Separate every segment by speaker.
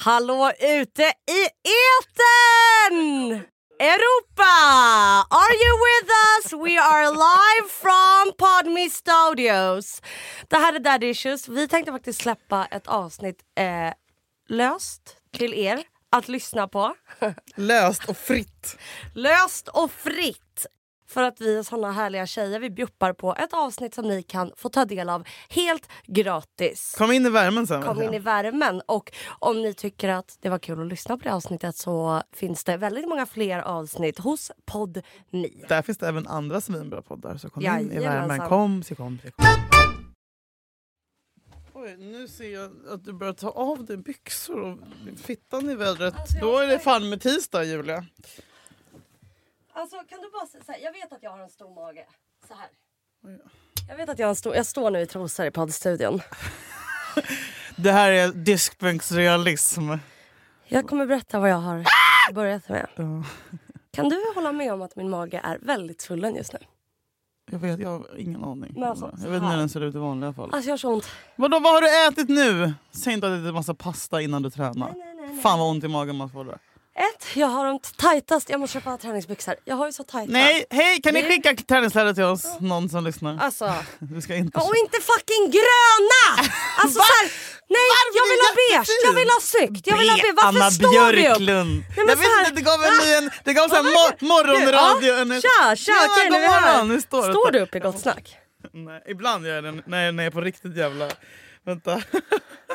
Speaker 1: Hallå ute i etern! Europa! Are you with us? We are live from Podme Studios. Det här är Daddy Issues. Vi tänkte faktiskt släppa ett avsnitt eh, löst till er att lyssna på.
Speaker 2: Löst och fritt.
Speaker 1: löst och fritt. För att vi är såna härliga tjejer. Vi bjuppar på ett avsnitt som ni kan få ta del av helt gratis.
Speaker 2: Kom in i värmen sen.
Speaker 1: kom in i värmen. Och om ni tycker att det var kul att lyssna på det avsnittet så finns det väldigt många fler avsnitt hos Podmi.
Speaker 2: Där finns det även andra svinbra poddar. Så kom in i
Speaker 1: Jajamensan.
Speaker 2: värmen. Kom, så kom, så kom. Oj, nu ser jag att du börjar ta av dig byxor och fittan i vädret. Då är det fan med tisdag, Julia.
Speaker 1: Alltså kan du bara säga så här, jag vet att jag har en stor mage. Så här. Jag vet att jag har en stor, jag står nu i trosor i poddstudion.
Speaker 2: Det här är diskbänksrealism.
Speaker 1: Jag kommer berätta vad jag har börjat med.
Speaker 2: Ja,
Speaker 1: Kan du hålla med om att min mage är väldigt svullen just nu?
Speaker 2: jag vet, jag har ingen aning.
Speaker 1: Men alltså, så
Speaker 2: jag vet inte
Speaker 1: här.
Speaker 2: hur den ser ut i vanliga fall.
Speaker 1: Alltså jag har så ont.
Speaker 2: Vadå, vad har du ätit nu? Säg inte att det är en massa pasta innan du tränar.
Speaker 1: Nej, nej, nej, nej.
Speaker 2: Fan vad ont i magen man får där.
Speaker 1: Ett, jag har de tajtaste, jag måste köpa träningsbyxor. Jag har ju så tajta.
Speaker 2: Nej, hej! Kan ni
Speaker 1: Nej.
Speaker 2: skicka träningsläder till oss? Någon som lyssnar.
Speaker 1: Alltså.
Speaker 2: Du ska inte...
Speaker 1: Och inte fucking gröna! Alltså så här, nej,
Speaker 2: Varför?
Speaker 1: jag vill ha
Speaker 2: Det är
Speaker 1: beige, jag vill ha snyggt, jag vill ha beige. Varför
Speaker 2: Anna
Speaker 1: står du upp?
Speaker 2: Björklund!
Speaker 1: men
Speaker 2: jag
Speaker 1: så
Speaker 2: vet
Speaker 1: här-
Speaker 2: inte, det gav en
Speaker 1: Va?
Speaker 2: ny... En, det gav så här
Speaker 1: Vad
Speaker 2: mor- morgonradio...
Speaker 1: Du,
Speaker 2: en-
Speaker 1: ja, tja, tja,
Speaker 2: Tjena,
Speaker 1: okej nu
Speaker 2: god
Speaker 1: är vi här.
Speaker 2: morgon! Hur står det?
Speaker 1: Står du upp i Gott Snack?
Speaker 2: Nej, ibland gör jag det när jag, när jag är på riktigt jävla... Vänta.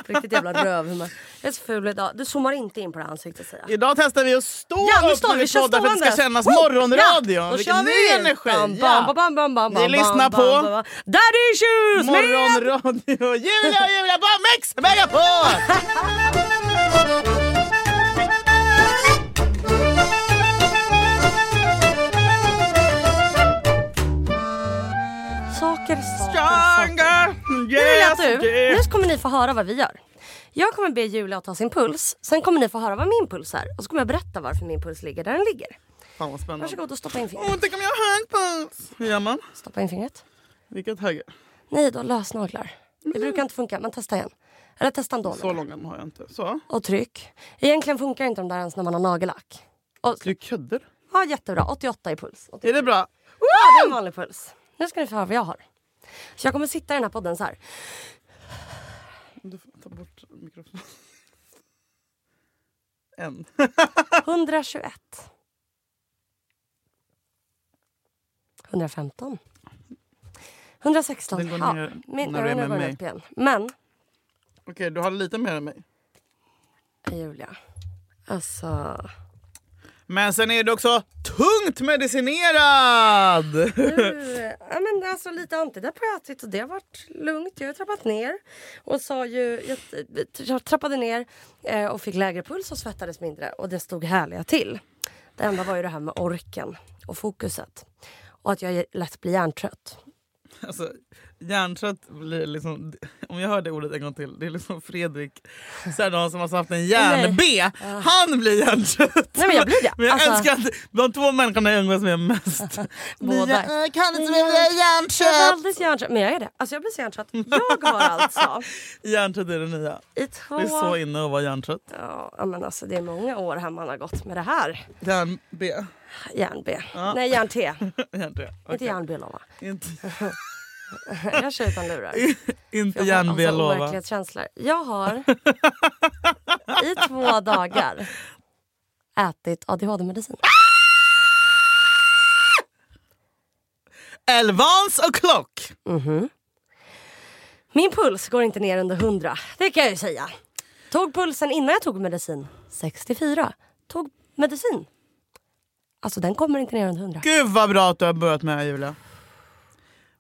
Speaker 1: Riktigt jävla rövhumör. Jag är så ful idag. Du zoomar inte in på det här ansiktet säger jag.
Speaker 2: Idag testar vi att stå
Speaker 1: Ja, nu
Speaker 2: upp
Speaker 1: står vi,
Speaker 2: när
Speaker 1: vi kör
Speaker 2: poddar för att det ska
Speaker 1: stående.
Speaker 2: kännas
Speaker 1: Woo!
Speaker 2: morgonradio.
Speaker 1: Ja, då
Speaker 2: Vilken
Speaker 1: kör vi!
Speaker 2: ny energi!
Speaker 1: Bam,
Speaker 2: Ja.
Speaker 1: bam, bam, bam, bam, bam,
Speaker 2: Ni
Speaker 1: bam,
Speaker 2: lyssnar
Speaker 1: bam,
Speaker 2: på-
Speaker 1: bam, bam. Daddy Issues med...
Speaker 2: Morgonradio! Julia, Julia på Mix Megapol!
Speaker 1: Saker, saker, saker.
Speaker 2: Stronger!
Speaker 1: Nu vill jag
Speaker 2: Yes,
Speaker 1: att du,
Speaker 2: yes.
Speaker 1: nu kommer ni få höra vad vi gör. Jag kommer be Julia att ta sin puls, sen kommer ni få höra vad min puls är och så kommer jag berätta varför min puls ligger där den ligger.
Speaker 2: Fan vad spännande.
Speaker 1: Varsågod och stoppa in fingret.
Speaker 2: Åh, tänk om jag har hög puls! Hur gör man?
Speaker 1: Stoppa in fingret.
Speaker 2: Vilket höger?
Speaker 1: Nej, du har lösnaglar. Det brukar inte funka, men testa igen. Eller testa ändå.
Speaker 2: Så långa har jag inte. Så.
Speaker 1: Och tryck. Egentligen funkar inte de där ens när man har nagellack. Och,
Speaker 2: Du ködder.
Speaker 1: ja, jättebra. 88 i puls. 88.
Speaker 2: Är det bra?
Speaker 1: Ja, det är en vanlig puls. Nu ska ni få höra vad jag har. Så jag kommer sitta i den här podden så här.
Speaker 2: Du får ta bort mikrofonen. En.
Speaker 1: 121. 115. 116.
Speaker 2: Den går
Speaker 1: Ja,
Speaker 2: ner
Speaker 1: min,
Speaker 2: när
Speaker 1: när
Speaker 2: du är
Speaker 1: nu
Speaker 2: med
Speaker 1: går den
Speaker 2: mig.
Speaker 1: upp igen. Men,
Speaker 2: Okej, du har lite mer än mig.
Speaker 1: Julia. Alltså,
Speaker 2: Men sen är du också tungt medicinerad!
Speaker 1: nu, ja, men alltså lite antidepp har jag ätit och det har varit lugnt. Jag har trappat ner och sa ju, jag t- t- trappade ner eh, och fick lägre puls och svettades mindre och det stod härliga till. Det enda var ju det här med orken och fokuset och att jag lätt blir hjärntrött.
Speaker 2: Alltså, hjärntrött blir liksom... Om jag hör det ordet en gång till, det är liksom Fredrik Särdal som har haft en hjärn-B. Han blir hjärntrött!
Speaker 1: Nej men jag blir det.
Speaker 2: Men jag
Speaker 1: Alltså-
Speaker 2: önskar att de två människorna jag umgås med mest.
Speaker 1: Båda.
Speaker 2: Jag kan inte
Speaker 1: Men jag-
Speaker 2: med mina
Speaker 1: Jag är
Speaker 2: hjärntrött!
Speaker 1: alldeles hjärntrött. Men jag är det. Alltså jag blir så hjärntrött. Jag har alltså
Speaker 2: Hjärntrött är det nya.
Speaker 1: i två...
Speaker 2: Det är så inne att vara hjärntrött.
Speaker 1: Ja, men alltså det är många år här man har gått med det här.
Speaker 2: Hjärn-B.
Speaker 1: Järn-B.
Speaker 2: Ja.
Speaker 1: Nej, järn-T.
Speaker 2: Hjärn-T.
Speaker 1: Inte järn-B lova.
Speaker 2: Inte,
Speaker 1: Jag kör utan lurar.
Speaker 2: inte
Speaker 1: Jag
Speaker 2: hjärn-B,
Speaker 1: alltså
Speaker 2: lova.
Speaker 1: overklighetskänslor. Jag har i två dagar ätit ADHD-medicin.
Speaker 2: Elvans och klock.
Speaker 1: Min puls går inte ner under 100. Det kan jag ju säga. Tog pulsen innan jag tog medicin. 64. Tog medicin. Alltså den kommer inte ner under 100.
Speaker 2: Gud vad bra att du har börjat med det här, Julia.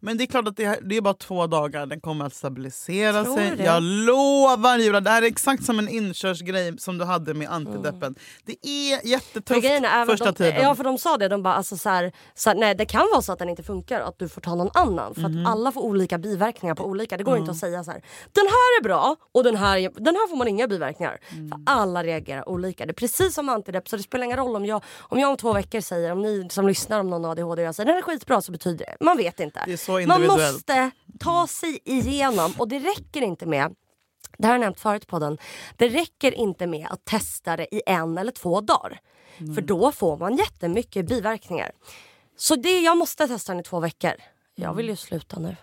Speaker 2: Men det är klart att det, här, det är bara två dagar, den kommer att stabilisera
Speaker 1: Tror
Speaker 2: sig.
Speaker 1: du det?
Speaker 2: Jag lovar Julia, det här är exakt som en inkörsgrej som du hade med antideppen. Det är
Speaker 1: Mm. För
Speaker 2: jättetufft
Speaker 1: grejen är, även
Speaker 2: första
Speaker 1: de,
Speaker 2: tiden.
Speaker 1: Ja för de sa det, de bara alltså så här, så här, nej det kan vara så att den inte funkar och att du får ta någon annan. För
Speaker 2: Mhm.
Speaker 1: att alla får olika biverkningar på olika, det går inte att säga så här. Den här är bra och den här, är- den här får man inga biverkningar.
Speaker 2: Mm.
Speaker 1: För alla reagerar olika. Det är precis som antidepp så det spelar ingen roll om jag om jag om två veckor säger, om ni som lyssnar om någon har ADHD och jag säger den här är skitbra så betyder det, man vet inte.
Speaker 2: Det är så
Speaker 1: man
Speaker 2: individuellt.
Speaker 1: måste ta sig igenom och det räcker inte med det här har jag nämnt förut i podden. Det räcker inte med att testa det i en eller två dagar. För då får man jättemycket biverkningar. Så det, jag måste testa den i två veckor. Jag vill ju sluta nu.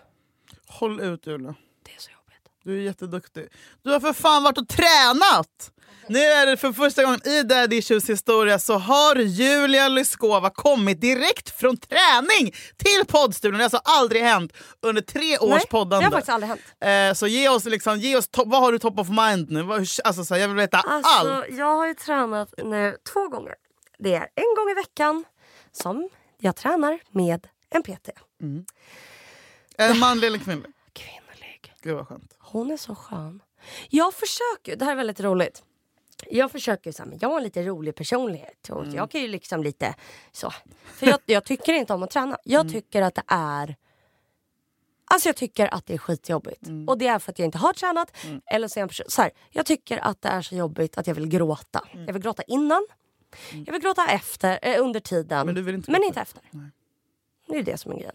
Speaker 2: Håll ut Julia.
Speaker 1: Det är så jobbigt.
Speaker 2: Du är jätteduktig. Du har för fan varit och tränat! Nu är det för första gången i Daddy Issues historia så har Julia Lyskova kommit direkt från träning till poddstudion. Det har alltså aldrig hänt under tre
Speaker 1: Nej,
Speaker 2: års
Speaker 1: Det har
Speaker 2: poddande.
Speaker 1: faktiskt aldrig hänt.
Speaker 2: Eh, så ge oss, liksom, ge oss top, vad har du top of mind nu? Vad- hur- Alltså, så här, jag vill veta
Speaker 1: Alltså,
Speaker 2: allt.
Speaker 1: jag har ju tränat nu två gånger. Det är en gång i veckan som jag tränar med en PT.
Speaker 2: En manlig eller kvinnlig?
Speaker 1: Kvinnlig.
Speaker 2: Gud vad skönt.
Speaker 1: Hon är så skön. Jag försöker, det här är väldigt roligt. Jag försöker ju så här, men jag har en lite rolig personlighet.
Speaker 2: Mm.
Speaker 1: Och Jag kan ju liksom lite så. För jag, jag tycker inte om att träna. Jag
Speaker 2: Mm.
Speaker 1: tycker att det är Alltså jag tycker att det är skitjobbigt.
Speaker 2: Mm.
Speaker 1: Och det är för att jag inte har tränat. Eller så är jag, en person- så här, jag tycker att det är så jobbigt att jag vill gråta.
Speaker 2: Mm.
Speaker 1: Jag vill gråta innan. Jag vill gråta efter, eh, under tiden.
Speaker 2: Men du vill inte
Speaker 1: Men
Speaker 2: gråta?
Speaker 1: inte efter.
Speaker 2: Nej.
Speaker 1: Det är det som är grejen.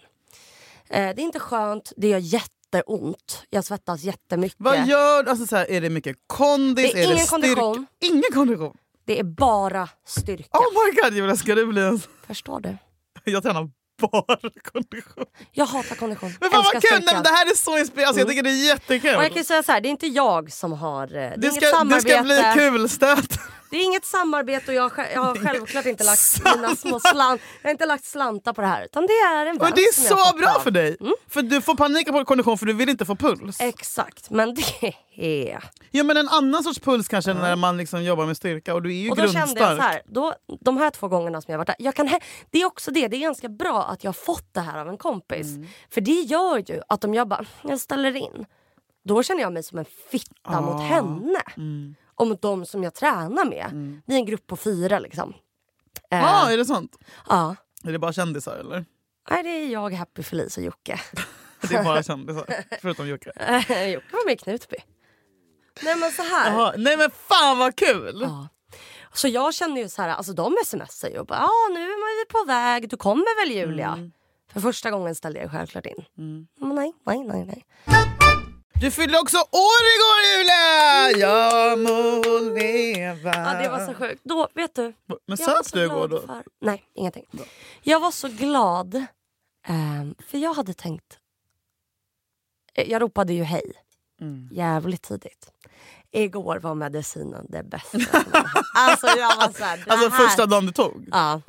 Speaker 1: Eh, det är inte skönt, det gör jätteont. Jag svettas jättemycket.
Speaker 2: Vad gör du? Alltså, så här, är det mycket kondis?
Speaker 1: Det är ingen
Speaker 2: styrka?
Speaker 1: kondition.
Speaker 2: Ingen kondition?
Speaker 1: Det är bara styrka.
Speaker 2: Oh my god Julia, ska du bli en...
Speaker 1: Förstår du?
Speaker 2: Jag tränar bara kondition.
Speaker 1: Jag hatar kondition.
Speaker 2: Men fan
Speaker 1: Älskar
Speaker 2: vad kul!
Speaker 1: styrka.
Speaker 2: Nej, men det här är så inspirerande. Alltså, jag tycker det är jättekul.
Speaker 1: Och jag kan ju säga så här, det är inte jag som har... eh, Det är
Speaker 2: det,
Speaker 1: inget
Speaker 2: ska, det
Speaker 1: samarbete.
Speaker 2: ska bli kulstöt.
Speaker 1: Det är inget samarbete och jag, har sj- jag har självklart inte lagt mina små slant, jag har inte lagt slantar på det här. Utan det är en
Speaker 2: Och
Speaker 1: vän
Speaker 2: det är
Speaker 1: som jag Mm. har
Speaker 2: så
Speaker 1: fått
Speaker 2: bra
Speaker 1: av.
Speaker 2: för dig. För Du får panik på kondition för du vill inte få puls.
Speaker 1: Exakt, men det är...
Speaker 2: Ja, men en annan sorts puls kanske än när man liksom jobbar med styrka och du är ju
Speaker 1: Och då kände jag så
Speaker 2: grundstark.
Speaker 1: här, då, de här två gångerna som jag varit där, jag kan, hä- det är också det, det är ganska bra att jag har fått det här av en kompis. För det gör ju att om jag bara, jag ställer in, då känner jag mig som en fitta mot henne. Och mot de som jag tränar med. Vi är en grupp på fyra liksom. Eh,
Speaker 2: Ja, är det sant?
Speaker 1: ja.
Speaker 2: Är det bara kändisar eller?
Speaker 1: Nej, det är jag, Happy, Felice och Jocke.
Speaker 2: Det är bara kändisar, förutom Jocke.
Speaker 1: Jocke var med i Knutby. Nej men så här.
Speaker 2: Jaha, Nej men fan vad kul!
Speaker 1: Ja. Så jag känner ju så här, alltså de smsar ju och bara ah, nu är vi på väg, du kommer väl Julia? För första gången ställde jag självklart in. Men nej, nej, nej, nej.
Speaker 2: Du fyllde också år igår Julia! Jag må leva.
Speaker 1: Ja, det var så sjukt. Då, vet du.
Speaker 2: Men
Speaker 1: jag var
Speaker 2: söp
Speaker 1: så
Speaker 2: du igår
Speaker 1: glad
Speaker 2: då?
Speaker 1: För, Äh. nej, ingenting. Jag var så glad. ehm, för jag hade tänkt... Eh, Jag ropade ju hej. Mm. Jävligt tidigt. Igår var medicinen det bästa som jag hade. Alltså jag var såhär, det
Speaker 2: Alltså
Speaker 1: här
Speaker 2: första dagen du tog?
Speaker 1: Ja.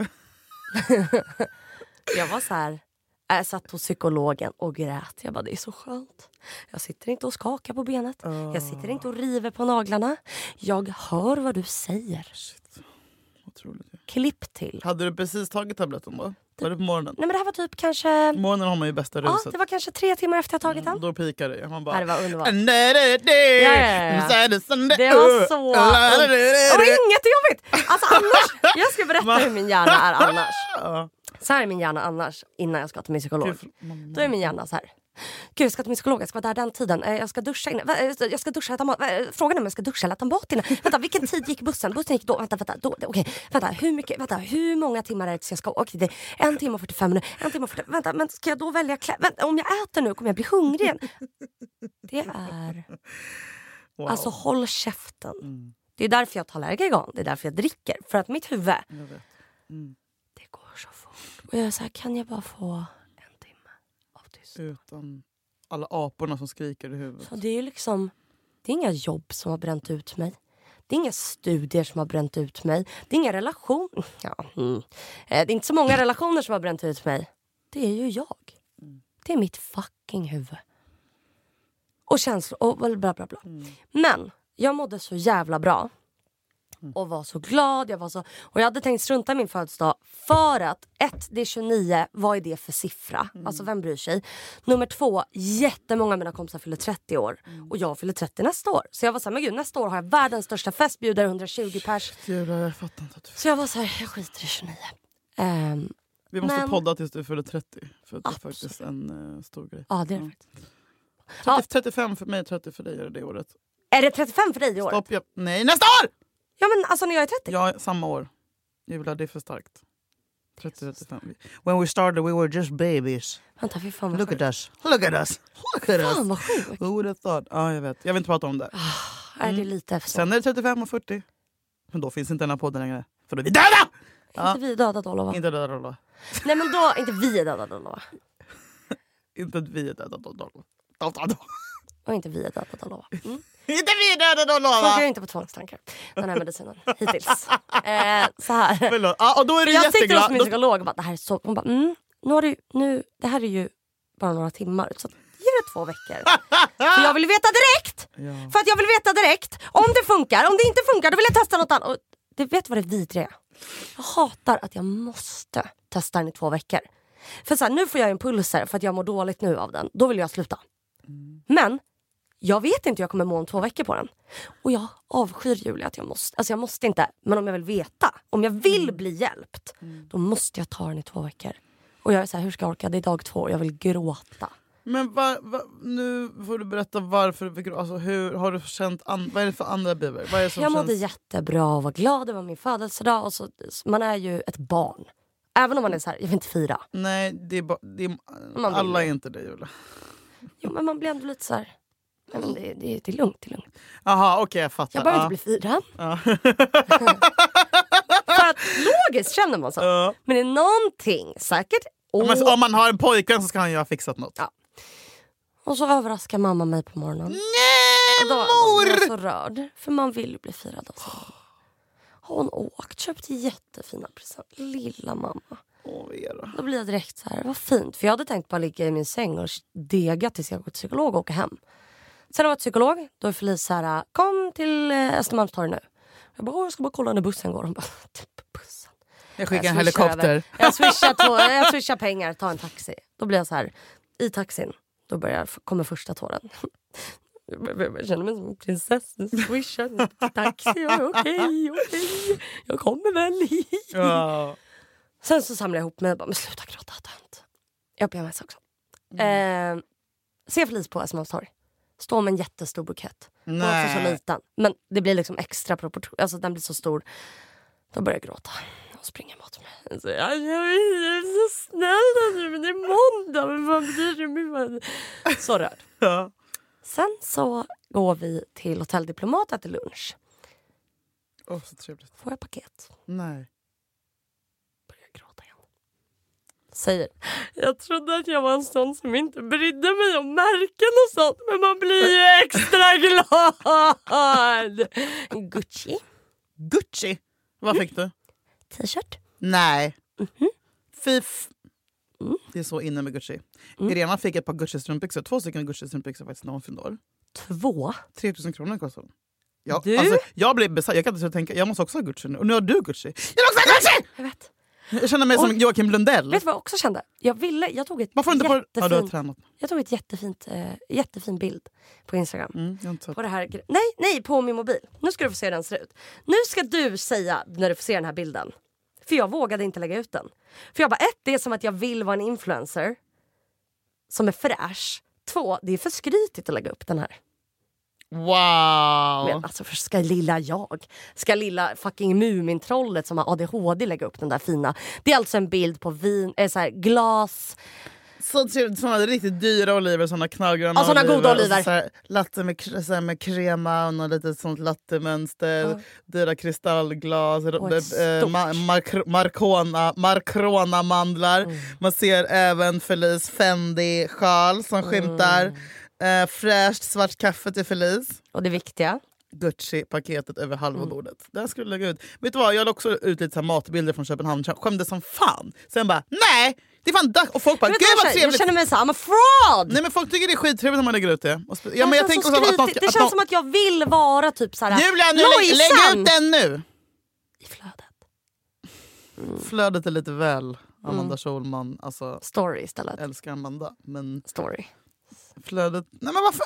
Speaker 1: jag var så här... Jag satt hos psykologen och grät. Jag bara, det är så skönt. Jag sitter inte och skakar på benet. Jag sitter inte och river på naglarna. Jag hör vad du säger.
Speaker 2: Otroligt.
Speaker 1: Klipp till.
Speaker 2: Hade du precis tagit tabletten då? Var det på morgonen?
Speaker 1: Nej men det här var typ kanske...
Speaker 2: På morgonen har man ju bästa
Speaker 1: Ja,
Speaker 2: ruset.
Speaker 1: det var kanske tre timmar efter jag tagit den.
Speaker 2: Då pikar det ju. Man bara...
Speaker 1: Ja, det var underbart.
Speaker 2: Ja,
Speaker 1: ja, ja. Det var så... Och inget är jobbigt! Alltså annars... Jag ska berätta hur min hjärna är annars. Så här är min hjärna annars, innan jag ska till min psykolog. Då är min hjärna så här. Gud, jag ska till min psykolog, jag ska vara där den tiden. Eh, Jag ska duscha innan. Va, eh, Jag ska duscha, äta mat. Va, eh, Frågan är om jag ska duscha eller äta mat innan. Vänta, vilken tid gick bussen? Bussen gick då. Vänta, vänta. Då, då, okej. Vänta, hur mycket? Vänta, hur många timmar är det tills jag ska Okej, det är en timme och 45 minuter. En timme och 40. Vänta, men ska jag då välja kläder? Vänta, om jag äter nu kommer jag bli hungrig igen. Det är...
Speaker 2: Wow.
Speaker 1: Alltså håll käften. Det är därför jag tar Lägergan. Det är därför jag dricker. För att mitt huvud, det går så fort. Och jag är så här, kan jag bara få en timme av tystnad?
Speaker 2: Utan alla aporna som skriker i huvudet.
Speaker 1: Så det är ju liksom, det är inga jobb som har bränt ut mig. Det är inga studier som har bränt ut mig. Det är inga relationer. Ja, mm. Eh, Det är inte så många relationer som har bränt ut mig. Det är ju jag. Det är mitt fucking huvud. Och känslor och bla bla bla. bla. Men jag mådde så jävla bra. Och var så glad. Jag var så... Och jag hade tänkt strunta i min födelsedag för att ett, det är 29. Vad är det för siffra?
Speaker 2: Mm.
Speaker 1: Alltså vem bryr sig? Nummer två, jättemånga av mina kompisar fyller 30 år.
Speaker 2: Mm.
Speaker 1: Och jag fyller 30 nästa år. Så jag var såhär, men gud nästa år har jag världens största fest. Bjuder 120 pers.
Speaker 2: Julia, jag fattar inte. Att du...
Speaker 1: Så jag var såhär, jag skiter i 29. Ehm,
Speaker 2: Vi måste
Speaker 1: Men-
Speaker 2: podda tills du fyller 30. För att det är
Speaker 1: Absolut.
Speaker 2: faktiskt en eh, stor grej.
Speaker 1: ja det är det
Speaker 2: Mm.
Speaker 1: faktiskt.
Speaker 2: 30,
Speaker 1: Ja.
Speaker 2: 35 för mig, 30 för dig är det det året.
Speaker 1: Är det 35 för dig i år?
Speaker 2: Stopp, ja. Nej, nästa år!
Speaker 1: Ja men alltså när jag är 30.
Speaker 2: Ja, samma år. Julia, det är för starkt. 30, 35. When we started we were just babies.
Speaker 1: Vänta, fy fan vad
Speaker 2: Look
Speaker 1: sjukt.
Speaker 2: at Mm. us. Look at us. Look at us.
Speaker 1: Fan Ah. vad sjukt.
Speaker 2: Who would have thought? Ja, jag vet. Jag vill inte prata om det.
Speaker 1: Är det lite för sent?
Speaker 2: Sen är det 35 och 40. Men då finns inte den här podden längre. För då är vi döda! Ja.
Speaker 1: Inte vi är döda Dolova.
Speaker 2: Inte döda Dollo.
Speaker 1: Nej men då, inte vi är döda Dolova.
Speaker 2: Inte att vi är döda Dollo. Döda Dollo.
Speaker 1: Och inte vi är döda Dolova. Mm.
Speaker 2: Inte vi är döda Dollo!
Speaker 1: Funkar
Speaker 2: va?
Speaker 1: ju inte på tvångstankar, den här medicinen. Hittills. Eh, så här.
Speaker 2: Förlåt. Ja, och då är du
Speaker 1: Jag sitter hos
Speaker 2: jätteglad.
Speaker 1: min
Speaker 2: Då-
Speaker 1: psykolog och bara, det här är så... Hon bara, mm, nu har du, nu, det här är ju bara några timmar. Så ge det två veckor. För
Speaker 2: Ah!
Speaker 1: jag vill veta direkt!
Speaker 2: Ja.
Speaker 1: För att jag vill veta direkt om det funkar. Om det inte funkar då vill jag testa något annat. Och det vet vad det vidriga är? Jag hatar att jag måste testa den i två veckor. För så här, nu får jag impulser för att jag mår dåligt nu av den. Då vill jag sluta. Men jag vet inte hur jag kommer må om två veckor på den. Och jag avskyr Julia att jag måste. Alltså jag måste inte, men om jag vill veta. Om jag vill bli hjälpt. Då måste jag ta den i två veckor. Och jag är så här, hur ska jag orka? Det är dag två och jag vill gråta.
Speaker 2: Men va, va, nu får du berätta varför. du fick- Alltså, hur har du känt? An, vad är det för andra biblar? Vad är det som
Speaker 1: Jag mådde
Speaker 2: känns?
Speaker 1: jättebra och var glad, det var min födelsedag. Och så, man är ju ett barn. Även om man är så här, jag vill inte fira.
Speaker 2: Nej, det är bara, det är,
Speaker 1: Man vill
Speaker 2: alla
Speaker 1: ju.
Speaker 2: är inte det Julia.
Speaker 1: Jo, men man blir ändå lite så här, nej, men det, det, det är lugnt, det är lugnt.
Speaker 2: Jaha, okej jag fattar.
Speaker 1: Jag behöver
Speaker 2: Ja.
Speaker 1: inte bli firad.
Speaker 2: Ja.
Speaker 1: För att logiskt känner man så.
Speaker 2: Ja.
Speaker 1: Men det är någonting säkert.
Speaker 2: Ja,
Speaker 1: Och,
Speaker 2: Men om man har en pojkvän så ska han ju ha fixat något.
Speaker 1: Ja. och så överraskar mamma mig på morgonen.
Speaker 2: Nej
Speaker 1: Och då
Speaker 2: mor!
Speaker 1: var jag så rörd, för man vill ju bli firad av sin mamma. Har Hon åkt, köpt jättefina presenter. Lilla mamma.
Speaker 2: Åh, Vera.
Speaker 1: Då blir jag direkt så här, vad fint. För jag hade tänkt bara ligga i min säng och dega tills jag går till psykolog och åka hem. Sen har jag varit psykolog. Då är Felice så här, kom till eh, Östermalmstorg nu. Jag bara, "Åh, jag ska bara kolla när bussen går. Hon bara, typ bussen.
Speaker 2: Jag skickar en
Speaker 1: Jag swishar
Speaker 2: helikopter.
Speaker 1: över. Jag swishar, två, jag swishar pengar, ta en taxi. Då blir jag så här, i taxin, då börjar, kommer första tåren. Jag känner mig som en prinsessa, swishar, taxi, okej, okej, jag kommer väl.
Speaker 2: Ja.
Speaker 1: Sen så samlade jag ihop mig och bara, men sluta gråta, tönt. Jag ber om en sak också. Eh, se Felice på Östermalmstorg. Stå med en jättestor bukett. Den är också så
Speaker 2: Nej.
Speaker 1: liten. Men det blir liksom extra proportion, alltså den blir så stor. Då börjar jag gråta. Och springer mot mig. Jag säger, "Aj, jag är så snäll nu men det är måndag. Men vad blir det med mig?" Så rörd.
Speaker 2: Ja.
Speaker 1: Sen så går vi till Hotell Diplomat och äter lunch.
Speaker 2: Åh, så trevligt.
Speaker 1: Får jag paket.
Speaker 2: Nej.
Speaker 1: börjar gråta igen. Säger. Jag trodde att jag var en sån som inte brydde mig om märken och sånt men man blir ju extra glad! Gucci
Speaker 2: Gucci. Vad fick du?
Speaker 1: t-shirt.
Speaker 2: Nej.
Speaker 1: Mhm.
Speaker 2: Fy f- Det är så inne med Gucci.
Speaker 1: Mm.
Speaker 2: Irena fick ett par Gucci-strumpbyxor. Två stycken Gucci-strumpbyxor faktiskt när hon fyllde år.
Speaker 1: Två.
Speaker 2: 3000 kronor kostar de. Ja,
Speaker 1: Du?
Speaker 2: Alltså, jag blev besatt. Jag kan inte sluta tänka. Jag måste också ha Gucci nu. Och nu har du Gucci. Jag vill också ha Gucci!
Speaker 1: Jag vet.
Speaker 2: Jag känner mig som Joakim Lundell.
Speaker 1: Vet du vad jag också kände? Jag ville, jag tog ett
Speaker 2: Varför inte på... Ja, du har
Speaker 1: jättefint,
Speaker 2: tränat.
Speaker 1: jag tog ett jättefint, eh, jättefin bild på Instagram.
Speaker 2: Mm, jag har inte sett.
Speaker 1: På det här, gre- nej, nej, på min mobil. Nu ska du få se hur den ser ut. Nu ska du säga när du får se den här bilden. För jag vågade inte lägga ut den. För jag bara, ett, det är som att jag vill vara en influencer som är fräsch. Två, det är för skrytigt att lägga upp den här.
Speaker 2: Wow!
Speaker 1: Men alltså, för ska lilla jag, ska lilla fucking Mumintrollet som har ADHD lägga upp den där fina. Det är alltså en bild på vin, äh, så här, glas,
Speaker 2: Så trevligt. Såna riktigt dyra oliver, såna knallgröna
Speaker 1: Ja, såna goda oliver.
Speaker 2: Och så här, latte med, kr- så här med krema och något litet sånt lattemönster. Dyra kristallglas.
Speaker 1: Och ett
Speaker 2: r- eh, ma- mark- marcona, marcona-mandlar.
Speaker 1: Mm.
Speaker 2: Man ser även Felice Fendi-sjal som
Speaker 1: Mm.
Speaker 2: skymtar. Eh, fräscht svart kaffe till Felice.
Speaker 1: och det viktiga.
Speaker 2: Gucci-paketet över halva
Speaker 1: Mm.
Speaker 2: bordet. Det här skulle jag lägga ut. Vet du vad, jag la också ut lite så här matbilder från Köpenhamn. Jag skämdes som fan. Sen bara, nej! Det är fan dags! Och folk bara,
Speaker 1: Men
Speaker 2: gud
Speaker 1: vet du vad
Speaker 2: vad
Speaker 1: jag känner? jag
Speaker 2: trevligt!
Speaker 1: känner mig såhär, I'm a fraud!
Speaker 2: Nej men folk tycker det är skittrevligt när man lägger ut det. Och spe- Ja, men
Speaker 1: Det
Speaker 2: jag
Speaker 1: känns
Speaker 2: tänker
Speaker 1: så
Speaker 2: också att någon,
Speaker 1: skrytigt. det
Speaker 2: att
Speaker 1: känns
Speaker 2: någon,
Speaker 1: som att jag vill vara typ såhär
Speaker 2: Julia, nu lägg, lägg ut den nu!
Speaker 1: i flödet. Mm.
Speaker 2: Flödet är lite väl Amanda Schulman. Alltså,
Speaker 1: Story istället.
Speaker 2: älskar Amanda. Men
Speaker 1: Story.
Speaker 2: Flödet. Nej, men varför?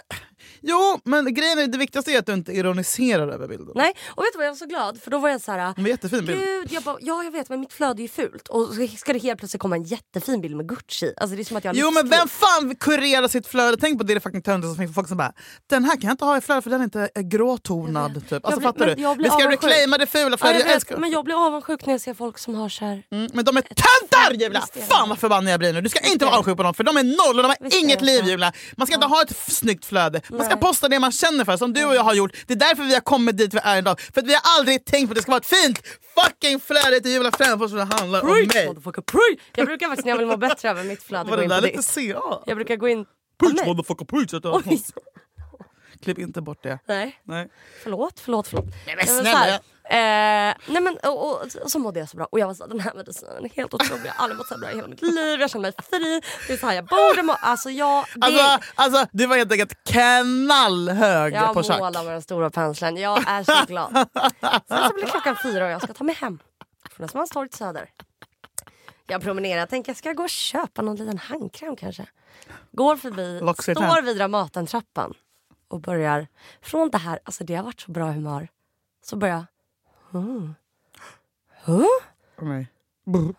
Speaker 2: Jo, men grejen är det viktigaste är att du inte ironiserar över bilden.
Speaker 1: Nej, och vet du vad jag var så glad för då var jag så här...
Speaker 2: Det var en jättefin bild.
Speaker 1: Gud, jag bara, ja jag vet men mitt flöde är ju fult. Och så ska det helt plötsligt komma en jättefin bild med Gucci. Alltså det är som att jag har
Speaker 2: Jo men
Speaker 1: lyxkris.
Speaker 2: vem fan kurerar sitt flöde? Tänk på det, det är fucking töntigt som finns folk som bara “den här kan jag inte ha i flödet för den är inte är gråtonad”. Typ. Alltså,
Speaker 1: blir-
Speaker 2: fattar
Speaker 1: men
Speaker 2: du?
Speaker 1: jag blir
Speaker 2: Vi ska
Speaker 1: avundsjuk.
Speaker 2: reclaima det fula
Speaker 1: Ja,
Speaker 2: flödet.
Speaker 1: jag
Speaker 2: jag älskar
Speaker 1: vet,
Speaker 2: men...
Speaker 1: men jag blir avundsjuk när jag ser folk som har så här...
Speaker 2: Mm, men de är töntar Julia!
Speaker 1: Visst är det.
Speaker 2: Fan vad förbannad jag blir nu. Du ska inte vara avundsjuk på dem för de är noll och de har
Speaker 1: Visst är
Speaker 2: inget
Speaker 1: det
Speaker 2: liv
Speaker 1: så.
Speaker 2: Julia. Man ska inte ha ett f- snyggt flöde. Man ska
Speaker 1: Nej.
Speaker 2: posta det man känner för som du och jag har gjort. Det är därför vi har kommit dit vi är idag. För att vi har aldrig tänkt på att det ska vara ett fint fucking flöde till Julia Fränfors som handlar om
Speaker 1: Preach,
Speaker 2: mig.
Speaker 1: motherfucker, preach. Jag brukar faktiskt när jag vill må bättre över mitt flöde
Speaker 2: Var
Speaker 1: gå
Speaker 2: det
Speaker 1: in på
Speaker 2: där lite
Speaker 1: ditt.
Speaker 2: CA?
Speaker 1: Jag brukar gå in...
Speaker 2: Preach
Speaker 1: Nej.
Speaker 2: motherfucker
Speaker 1: Oj,
Speaker 2: preach! Klipp inte bort det.
Speaker 1: nej.
Speaker 2: Nej.
Speaker 1: Förlåt, förlåt, förlåt. Nej
Speaker 2: men
Speaker 1: så
Speaker 2: snälla.
Speaker 1: här, Eh, nej men, och, och, och så mådde jag så bra. Och jag var så här, den här medicinen är helt otrolig. Jag har aldrig mått så här bra i hela mitt liv. Jag känner mig fri. Det är så här jag borde må. Alltså jag... Det,
Speaker 2: Alltså, alltså du var helt enkelt knallhög
Speaker 1: jag
Speaker 2: på schack.
Speaker 1: målar med den stora penseln. Jag är så glad. Sen så blir klockan fyra och jag ska ta mig hem. Från Östermalmstorg till Söder. Jag promenerar. Jag tänker jag ska gå och köpa någon liten handkräm kanske. Går förbi,
Speaker 2: Loxytan.
Speaker 1: står vid Dramaten-trappan. Och börjar, från det här, alltså det har varit så bra humör. Så börjar jag,
Speaker 2: Nej.
Speaker 1: "Åh, Mm,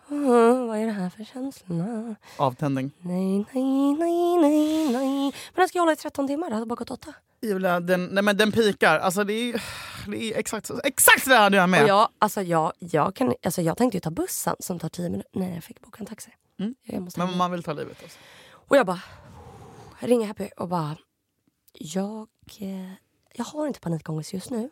Speaker 1: vad är det här för känslorna?
Speaker 2: Avtändning.
Speaker 1: Nej, nej, nej, nej, nej. Men den ska jag hålla i 13 timmar, det hade bara gått 8.
Speaker 2: Julia, den, nej, men den pikar. Alltså, det, är, det är exakt, exakt det här du är med.
Speaker 1: Och jag, alltså jag, jag, kan, alltså jag tänkte ju ta bussen som tar 10 minuter. Nej, jag fick boka en taxi. Jag måste
Speaker 2: Men man vill ta livet alltså.
Speaker 1: Och jag bara ringer Happy och bara... Jag, eh, jag har inte panikångest just nu.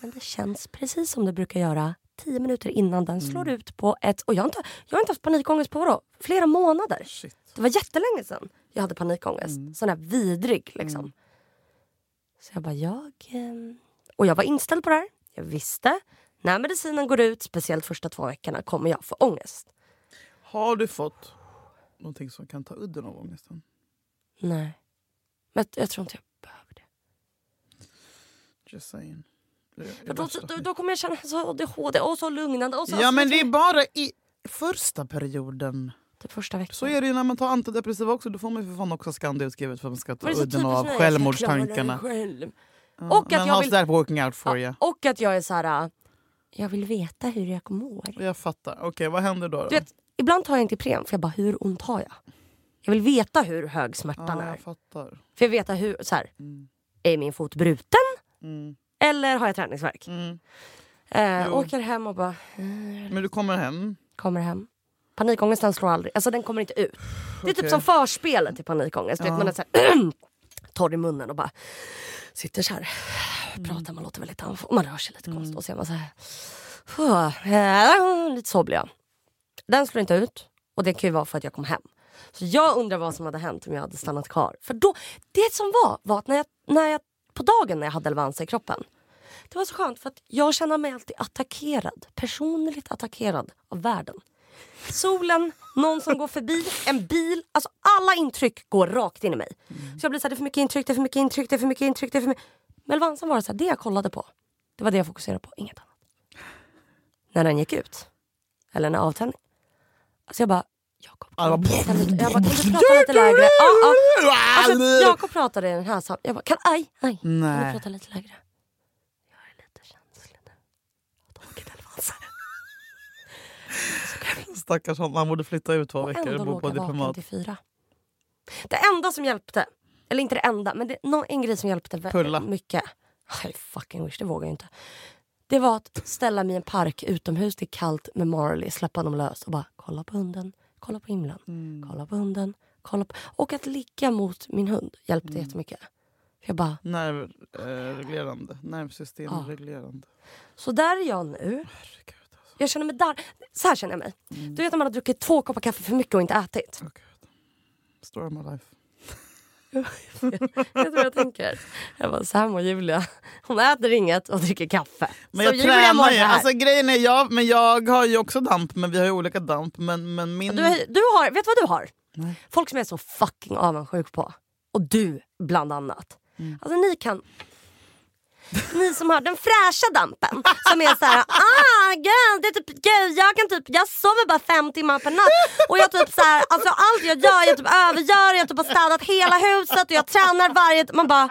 Speaker 1: Men det känns precis som det brukar göra tio minuter innan den slår ut på ett... Och jag har inte, jag har inte haft panikångest på vadå? Flera månader.
Speaker 2: Shit.
Speaker 1: Det var jättelänge sedan jag hade panikångest.
Speaker 2: Mm.
Speaker 1: Sån här vidrig liksom. Så jag bara, jag... eh, Och jag var inställd på det här. Jag visste. När medicinen går ut, speciellt första två veckorna, kommer jag få ångest.
Speaker 2: Har du fått någonting som kan ta udden av ångesten?
Speaker 1: Nej. Men jag- jag tror inte jag behöver det.
Speaker 2: Just saying. Det är
Speaker 1: För då,
Speaker 2: värsta
Speaker 1: då,
Speaker 2: skit.
Speaker 1: då kommer jag känna så ADHD och så lugnande. Och så,
Speaker 2: ja,
Speaker 1: alltså,
Speaker 2: men det är
Speaker 1: typ
Speaker 2: bara i första perioden.
Speaker 1: första veckan.
Speaker 2: Så är det ju när man tar antidepressiva också. Då får man ju för fan också Scandia utskrivet för att man ska ta
Speaker 1: Var det så
Speaker 2: udden
Speaker 1: typiskt
Speaker 2: av
Speaker 1: mig?
Speaker 2: självmordstankarna.
Speaker 1: Jag klarar det själv.
Speaker 2: Ja,
Speaker 1: Och att
Speaker 2: men
Speaker 1: jag
Speaker 2: how's
Speaker 1: vill-
Speaker 2: that working out for you?
Speaker 1: Ja, och att jag är så här... äh, Jag vill veta hur jag mår.
Speaker 2: Jag fattar. Okej, vad händer då? då?
Speaker 1: Du vet, ibland tar jag inte Ipren för jag bara, hur ont har jag? Jag vill veta hur hög smärtan
Speaker 2: ja,
Speaker 1: är.
Speaker 2: jag fattar.
Speaker 1: För jag vill veta hur, så här,
Speaker 2: Mm.
Speaker 1: är min fot bruten
Speaker 2: Mm.
Speaker 1: eller har jag träningsvärk?
Speaker 2: Mm.
Speaker 1: Eh,
Speaker 2: Jo.
Speaker 1: åker hem och bara,
Speaker 2: Men du kommer hem.
Speaker 1: kommer hem. Panikångesten slår aldrig, alltså den kommer inte ut. Det är
Speaker 2: Okej.
Speaker 1: typ som förspelet till panikångest. Du
Speaker 2: Ja.
Speaker 1: Vet, man är så här, torr i munnen och bara sitter så här.
Speaker 2: Mm.
Speaker 1: Pratar, man låter väldigt taff och man rör sig lite konstigt. Och så är man så här, "Fuh, eh, lite så blir jag. Den slår inte ut och det kan ju vara för att jag kom hem. Så jag undrar vad som hade hänt om jag hade stannat kvar. För då, det som var, var att när jag, när jag, på dagen när jag hade Elvanza i kroppen det var så skönt för att jag känner mig alltid attackerad. Personligt attackerad av världen. Solen, någon som går förbi, en bil. Alltså alla intryck går rakt in i mig. Så jag blir så här, det är för mycket intryck, det är för mycket intryck, det är för mycket intryck. Det är för mycket... Men Elvansen var det så här, det jag kollade på. Det var det jag fokuserade på, inget annat. När den gick ut. Eller när avtändningen. Alltså jag bara, Jakob,
Speaker 2: Alla
Speaker 1: kan
Speaker 2: bara-
Speaker 1: du- jag bara, kan du prata lite lägre? Ja, ja. Alltså, Jakob pratade i den här sam- Jag bara, kan, aj, aj. Kan du
Speaker 2: Nej.
Speaker 1: prata lite lägre? Jag är lite känslig nu. Jag har tagit elvanser.
Speaker 2: Stackars honom. Han borde flytta ut två
Speaker 1: Och
Speaker 2: veckor
Speaker 1: ändå
Speaker 2: och bo
Speaker 1: låg
Speaker 2: på
Speaker 1: jag vaken
Speaker 2: diplomat.
Speaker 1: till fyra. Det enda som hjälpte, eller inte det enda, men det, någon, en grej som hjälpte vä-
Speaker 2: Pulla.
Speaker 1: mycket. Ah, I fucking wish, det vågar jag inte. Det var att ställa mig i en park utomhus, det är kallt med Marley, släppa honom lös och bara kolla på hunden, kolla på himlen,
Speaker 2: Mm.
Speaker 1: kolla på hunden, kolla på... Och att ligga mot min hund hjälpte
Speaker 2: Mm.
Speaker 1: jättemycket. För jag bara,
Speaker 2: Nervreglerande. Nervsystemreglerande.
Speaker 1: så där är jag nu.
Speaker 2: Herregud, alltså.
Speaker 1: Jag känner mig där. Så här känner jag mig.
Speaker 2: Mm.
Speaker 1: Du vet när man har druckit två koppar kaffe för mycket och inte ätit.
Speaker 2: Åh, gud. Story of my life.
Speaker 1: Vet du vad jag tänker? Jag bara, så här mår Julia. Hon äter inget och dricker kaffe.
Speaker 2: Men
Speaker 1: så
Speaker 2: jag
Speaker 1: Julia mår
Speaker 2: tränar ju.
Speaker 1: så här.
Speaker 2: Alltså, grejen är jag, men jag har ju också damp, men vi har ju olika damp. Men, men min...
Speaker 1: du, du har, vet du vad du har?
Speaker 2: Nej.
Speaker 1: Folk som är så
Speaker 2: Mm.
Speaker 1: fucking avundsjuk på. Och du bland annat. Alltså ni kan... ni som har den fräscha dampen som är så här, ah gud, det är typ, gud jag kan typ, jag sover bara fem timmar per natt och jag typ så här, alltså allt jag gör, jag typ övergör, jag typ har städat hela huset och jag tränar varje, man bara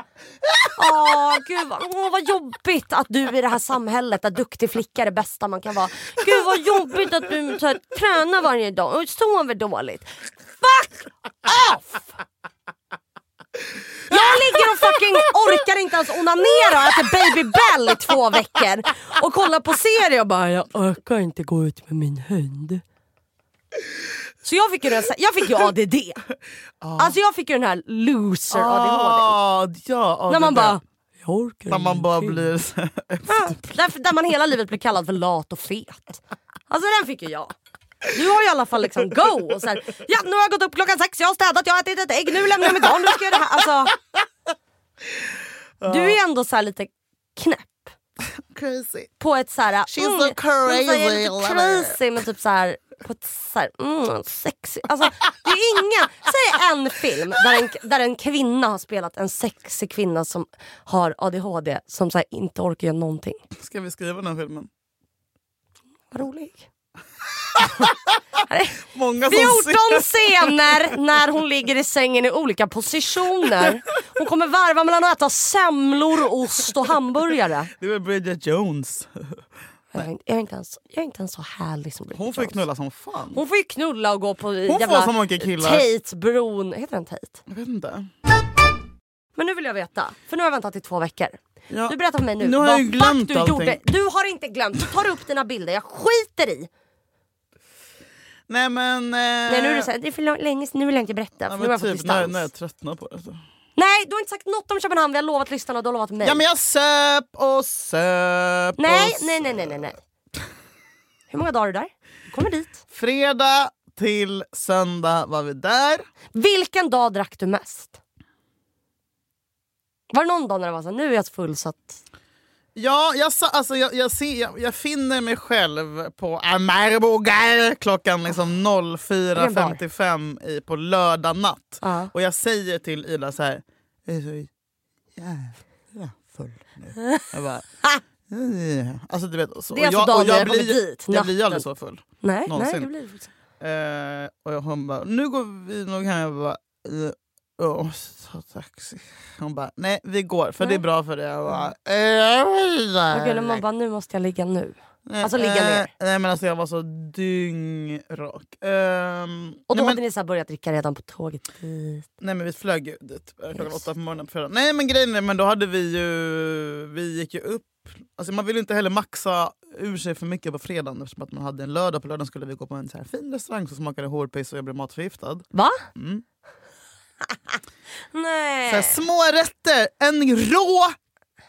Speaker 1: Åh, gud vad, åh, vad jobbigt att du i det här samhället där duktig flicka är det bästa man kan vara. Gud vad jobbigt att du så här, tränar varje dag och sover dåligt. Fuck off! Jag ligger och fucking orkar inte ens onanera och äter baby Bell i två veckor och kollar på serier och bara jag orkar inte gå ut med min hund. Så jag fick ju, den, jag fick ju ADD. Alltså jag fick ju den här loser ADHD.
Speaker 2: Ah, ja, ah,
Speaker 1: När man
Speaker 2: det där.
Speaker 1: bara, jag orkar
Speaker 2: När man bara
Speaker 1: ingenting."
Speaker 2: blir... så här-
Speaker 1: Ja, Där, där man hela livet blir kallad för lat och fet. Alltså den fick ju jag. Du har ju i alla fall liksom go. Och så här, ja, nu har jag gått upp klockan sex, jag har städat, jag har ätit ett ägg, nu lämnar jag mitt barn, nu ska jag göra det här. Alltså, du är ändå så här lite knäpp.
Speaker 2: Crazy.
Speaker 1: På ett så här... mm,
Speaker 2: She's so crazy,
Speaker 1: hon säger lite
Speaker 2: lover.
Speaker 1: crazy men typ så här... På ett så här, mm, sexy. Alltså, det är ingen... Säg en film där en, där en kvinna har spelat en sexig kvinna som har ADHD som så här, inte orkar göra någonting.
Speaker 2: Ska vi skriva den här filmen?
Speaker 1: Vad rolig.
Speaker 2: Många
Speaker 1: 14
Speaker 2: som
Speaker 1: scener när hon ligger i sängen i olika positioner. Hon kommer varva mellan att äta semlor, ost och hamburgare.
Speaker 2: Det var Bridget Jones.
Speaker 1: Jag är, inte- jag, är inte ens, jag är inte ens så härlig som Bridget
Speaker 2: Hon får ju
Speaker 1: Jones.
Speaker 2: knulla som fan.
Speaker 1: Hon får ju knulla och gå på
Speaker 2: Hon
Speaker 1: jävla
Speaker 2: får så många killar.
Speaker 1: Tate-bron. Heter den Tate?
Speaker 2: Jag vet inte.
Speaker 1: Men nu vill jag veta, för nu har jag väntat i två veckor.
Speaker 2: Ja.
Speaker 1: Du berättar för mig nu,
Speaker 2: Nu har
Speaker 1: vad
Speaker 2: jag ju glömt
Speaker 1: fuck du
Speaker 2: allting.
Speaker 1: gjorde. Du har inte glömt, du tar upp dina bilder, jag skiter i.
Speaker 2: Nej men... Eh,
Speaker 1: Nej nu är det såhär, det är för lång- länge sedan, nu vill jag inte berätta för nu har jag fått
Speaker 2: typ, när,
Speaker 1: distans.
Speaker 2: när jag tröttnar på det. Så.
Speaker 1: Nej, du har inte sagt något om Köpenhamn. Vi har lovat lyssnarna och du har lovat mig.
Speaker 2: Ja men jag söp och söp och
Speaker 1: nej,
Speaker 2: söp.
Speaker 1: nej, nej, nej, nej, nej. Hur många dagar är du där? Du kommer dit.
Speaker 2: Fredag till söndag var vi där.
Speaker 1: Vilken dag drack du mest? Var det någon dag när det var så här, nu är jag så full så att...
Speaker 2: Ja, jag, sa, alltså, jag, jag, ser, jag, jag finner mig själv på Amarbogar klockan liksom
Speaker 1: Ah. Vilken bar. Ah.
Speaker 2: 04.55 i- på lördag natt.
Speaker 1: Ja.
Speaker 2: Och jag säger till Ida så här... Jag är så jävla full nu. Jag bara, "Ja." alltså, du vet, och så.
Speaker 1: Det är
Speaker 2: Och
Speaker 1: alltså
Speaker 2: jag, och
Speaker 1: dagen
Speaker 2: jag
Speaker 1: jag kommer
Speaker 2: blir,
Speaker 1: dit,
Speaker 2: Jag blir
Speaker 1: natten.
Speaker 2: ju aldrig så full.
Speaker 1: Nej, nej
Speaker 2: Någonsin.
Speaker 1: det blir det faktiskt.
Speaker 2: Eh, och jag- hon bara, nu går vi nog hem. Jag bara, eh, åh, ta taxi. Hon bara, nej vi går för det är bra för dig. Jag bara, eh, jag vill där.
Speaker 1: Okej, när man bara, nu måste jag ligga nu.
Speaker 2: Nej,
Speaker 1: alltså, ligga ner.
Speaker 2: eh, Nej men alltså jag var så dyngrak. Ehm,
Speaker 1: Och då
Speaker 2: nej, men,
Speaker 1: hade ni så här börjat dricka redan på tåget dit.
Speaker 2: nej men vi flög ju dit eh, klockan
Speaker 1: Yes.
Speaker 2: åtta på morgonen på fredagen. Nej men grejen är, men då hade vi ju, vi gick ju upp. Alltså man vill inte heller maxa ur sig för mycket på fredagen eftersom att man hade en lördag. På lördagen skulle vi gå på en så här fin restaurang som smakade hårpiss och jag blev matförgiftad.
Speaker 1: Va?
Speaker 2: Mm.
Speaker 1: Nej.
Speaker 2: Så här, små rätter, en rå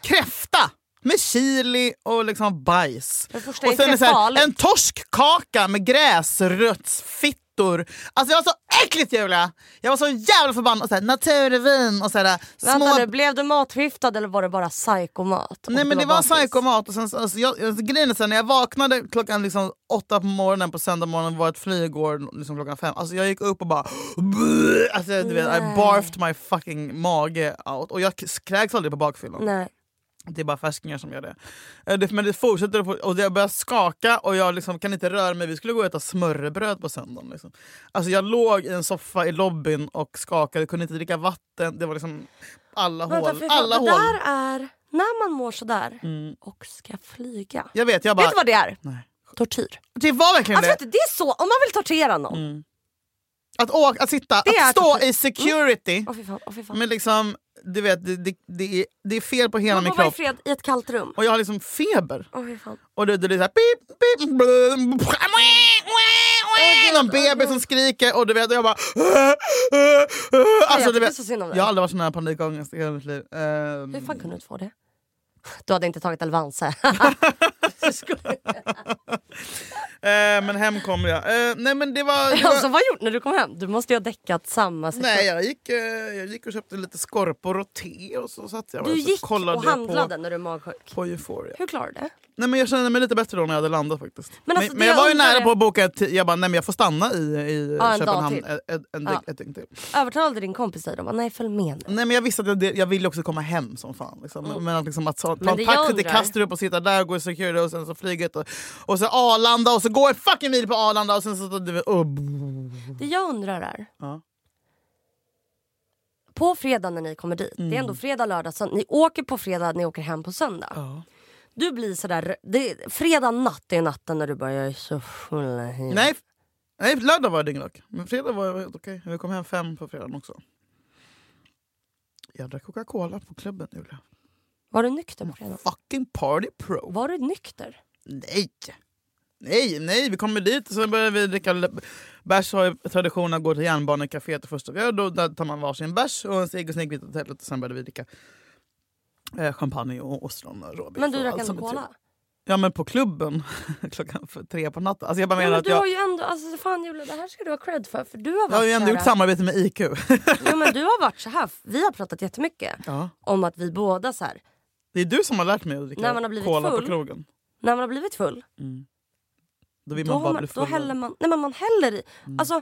Speaker 2: kräfta med chili och liksom bajs.
Speaker 1: För det första är
Speaker 2: Och sen
Speaker 1: inte det
Speaker 2: är så här,
Speaker 1: farligt.
Speaker 2: en torskkaka med gräsrötsfittor. Alltså jag var så äckligt Julia! Jag var så jävla förbannad. Och så här, naturvin och så här, små...
Speaker 1: Vänta nu, blev du matförgiftad eller var det bara psykomat?
Speaker 2: Nej
Speaker 1: Och
Speaker 2: men
Speaker 1: du
Speaker 2: det var
Speaker 1: bakis?
Speaker 2: psykomat. Och sen, så- alltså, jag, alltså, grejen är så här, när jag vaknade klockan liksom åtta på morgonen på söndag morgon var ett flyg igår liksom klockan fem. Alltså jag gick upp och bara... Alltså, du vet, I
Speaker 1: Nej.
Speaker 2: barfed my fucking mage out. Och jag kräks aldrig på bakfyllan.
Speaker 1: Nej. Det
Speaker 2: Det är bara färskingar som gör det. Eh, det men det fortsätter att få- och jag börjar skaka och jag liksom kan inte röra mig. Vi skulle gå och äta smörrebröd på söndagen. Liksom. Alltså jag låg i en soffa i lobbyn och skakade, kunde inte dricka vatten. Det var liksom alla
Speaker 1: Vänta,
Speaker 2: hål.
Speaker 1: för fan,
Speaker 2: Alla
Speaker 1: det
Speaker 2: hål.
Speaker 1: där är när man mår sådär
Speaker 2: Mm.
Speaker 1: och ska flyga.
Speaker 2: Jag vet, jag bara...
Speaker 1: Vet du vad det är?
Speaker 2: Nej.
Speaker 1: Tortyr.
Speaker 2: Det var verkligen
Speaker 1: Alltså,
Speaker 2: det.
Speaker 1: vet du, det är så, om man vill tortera någon.
Speaker 2: Mm.
Speaker 1: Åh
Speaker 2: Att, åka, att sitta,
Speaker 1: Det är Mm.
Speaker 2: att stå
Speaker 1: typ-
Speaker 2: i security.
Speaker 1: fy fan, åh fy fan.
Speaker 2: Men liksom, du vet, det, det, det, är, det är fel på hela
Speaker 1: Man
Speaker 2: min
Speaker 1: får vara i
Speaker 2: kropp.
Speaker 1: fred i ett kallt rum.
Speaker 2: Och jag har liksom feber.
Speaker 1: Åh fy fan.
Speaker 2: Och det, det är så här, pip, pip, blum, blum, någon bebis som skriker och du vet, jag bara... Alltså,
Speaker 1: jag
Speaker 2: du
Speaker 1: tycker
Speaker 2: vet,
Speaker 1: så synd om dig.
Speaker 2: jag har aldrig varit så nära panikångest i hela mitt liv. Ehm,
Speaker 1: Hur fan kunde du inte få det? Du hade inte tagit Elvanse.
Speaker 2: eh, Eh, men hem kom jag. Eh, nej men det var... Det var
Speaker 1: Alltså vad gjorde när du kom hem? Du måste ju ha däckat samma sekund.
Speaker 2: Nej, jag gick, eh, jag gick och köpte lite skorpor och te och så satt jag
Speaker 1: Du
Speaker 2: och så
Speaker 1: gick
Speaker 2: kollade
Speaker 1: och
Speaker 2: jag
Speaker 1: handlade
Speaker 2: på,
Speaker 1: när du är magsjuk.
Speaker 2: på Euphoria.
Speaker 1: Hur klarade du det?
Speaker 2: Nej, men jag kände mig lite bättre då när jag hade landat faktiskt. Men,
Speaker 1: alltså, det
Speaker 2: men jag
Speaker 1: jag
Speaker 2: var ju
Speaker 1: undrar
Speaker 2: nära
Speaker 1: är-
Speaker 2: på att boka ett, jag bara, nej men jag får stanna i, i
Speaker 1: Ja, en dag
Speaker 2: Köpenhamn
Speaker 1: till.
Speaker 2: ett, ett, en,
Speaker 1: Ja.
Speaker 2: ett dygn till.
Speaker 1: Övertalade din kompis dig? De bara, nej följ med nu.
Speaker 2: Nej men jag visste att jag, jag ville också komma hem som fan. Liksom. Men att, liksom, att ta ta
Speaker 1: Mm. Men det
Speaker 2: en
Speaker 1: jag
Speaker 2: taxi till
Speaker 1: undrar-
Speaker 2: Kastrup och sitta där och gå i security och sen så flyget och, och så Arlanda och så går en fucking mil på Arlanda och sen så... Du, och,
Speaker 1: Det jag undrar är.
Speaker 2: Mm. Ja.
Speaker 1: På fredag när ni kommer dit. Det är ändå fredag, lördag, söndag. Ni åker på fredag, ni åker hem på söndag.
Speaker 2: Mm. Ja.
Speaker 1: Du blir sådär... Det, fredag natt är natten när du bara, jag är så full. i-
Speaker 2: Nej, f- nej, lördag var jag dyngrak. Men fredag var jag helt okej. Vi kom hem fem på fredagen också. Jag drack Coca-Cola på klubben Julia.
Speaker 1: Var du nykter på fredag?
Speaker 2: Fucking party pro.
Speaker 1: Var du nykter?
Speaker 2: Nej! Nej, nej, vi kommer dit och så börjar vi dricka l- bärs. har ju tradition att gå till järnbanecaféet och första röd och där tar man varsin bärs och en cigg och snickvitt åt helvete. Sen började vi dricka eh, champagne och ostron och råbiff.
Speaker 1: Men du
Speaker 2: och
Speaker 1: drack
Speaker 2: allt
Speaker 1: ändå
Speaker 2: som är trevligt.
Speaker 1: cola?
Speaker 2: Ja men på klubben klockan för tre på natten. Alltså jag bara
Speaker 1: Ja,
Speaker 2: menar
Speaker 1: men
Speaker 2: att
Speaker 1: du
Speaker 2: jag,
Speaker 1: har ju ändå... Alltså, fan Julia, det här ska du ha cred för. För du har varit
Speaker 2: jag har ju ändå
Speaker 1: såhär-
Speaker 2: gjort samarbete med IQ.
Speaker 1: Jo, men du har varit så här. Vi har pratat jättemycket
Speaker 2: ja.
Speaker 1: om att vi båda så här,
Speaker 2: Det är du som har lärt mig att dricka
Speaker 1: När man har blivit
Speaker 2: cola på
Speaker 1: full.
Speaker 2: krogen. Mm.
Speaker 1: när man har blivit full,
Speaker 2: Då vill
Speaker 1: då,
Speaker 2: man
Speaker 1: har
Speaker 2: bara Mm.
Speaker 1: man,
Speaker 2: bli
Speaker 1: då
Speaker 2: full.
Speaker 1: häller man, nej, men man häller i. Alltså,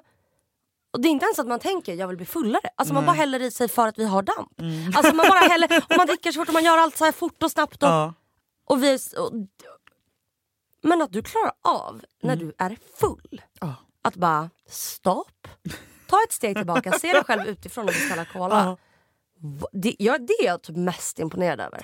Speaker 1: och det är inte ens att man tänker jag vill bli fullare. Alltså, man bara häller i sig för att vi har damp.
Speaker 2: Mm.
Speaker 1: Alltså, man bara häller, och man dricker så fort och man gör allt så här fort och snabbt. Och,
Speaker 2: Ja.
Speaker 1: och vi, är- och, men att du klarar av när du är full
Speaker 2: Mm. Ja.
Speaker 1: att bara stopp, ta ett steg tillbaka, se dig själv utifrån och beställa cola.
Speaker 2: Ja.
Speaker 1: Va- Det, ja, det är jag typ mest imponerad över.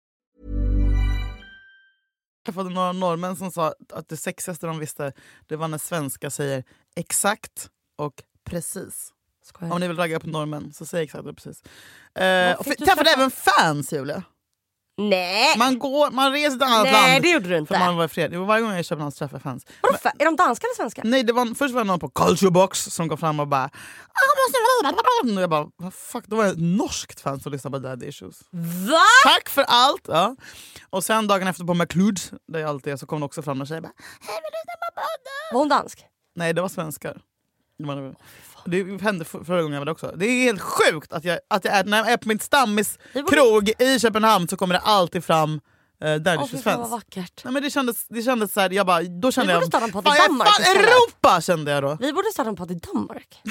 Speaker 2: Jag träffade några norrmän som sa att det sexigaste de visste det var när svenskar säger exakt och precis.
Speaker 1: Skojar
Speaker 2: Om ni vill ragga på norrmän så säg exakt och precis. Eh, och
Speaker 1: fick
Speaker 2: fi-
Speaker 1: du
Speaker 2: träffade
Speaker 1: träffa-
Speaker 2: även fans Julia.
Speaker 1: Nej!
Speaker 2: Man, går, man reser till ett annat
Speaker 1: Nej,
Speaker 2: land.
Speaker 1: det gjorde du inte.
Speaker 2: För man var i fred. Jo, varje gång jag är i Köpenhamn så träffar jag fans.
Speaker 1: Vadå fa- är de danska eller svenska?
Speaker 2: Nej, det var, först var det någon på Culture Box som kom fram och bara "Ah, "Jag måste vrida." och jag bara, vad fuck, då var det ett norskt fan som lyssnade på Daddy Issues.
Speaker 1: Va?
Speaker 2: Tack för allt! Ja. Och sen dagen efter på McLood, där jag alltid är, så kom det också fram en tjej och bara Hej vill du lyssna på podden?
Speaker 1: Var hon dansk?
Speaker 2: Nej det var svenskar. Det var- Det hände för- förra gången jag var där också. Det är helt sjukt att jag, att jag är, när jag är på min stammis
Speaker 1: Det borde-
Speaker 2: krog i Köpenhamn så kommer det alltid fram eh, Daddy
Speaker 1: Åh fy
Speaker 2: Issues
Speaker 1: fan vad
Speaker 2: fans.
Speaker 1: vackert.
Speaker 2: Nej, men det kändes, det kändes så här, jag bara, då kände
Speaker 1: Vi
Speaker 2: jag...
Speaker 1: borde starta en podd i
Speaker 2: fan, jag är
Speaker 1: Danmark
Speaker 2: fan
Speaker 1: istället."
Speaker 2: Europa kände jag då.
Speaker 1: Vi borde starta en podd i Danmark.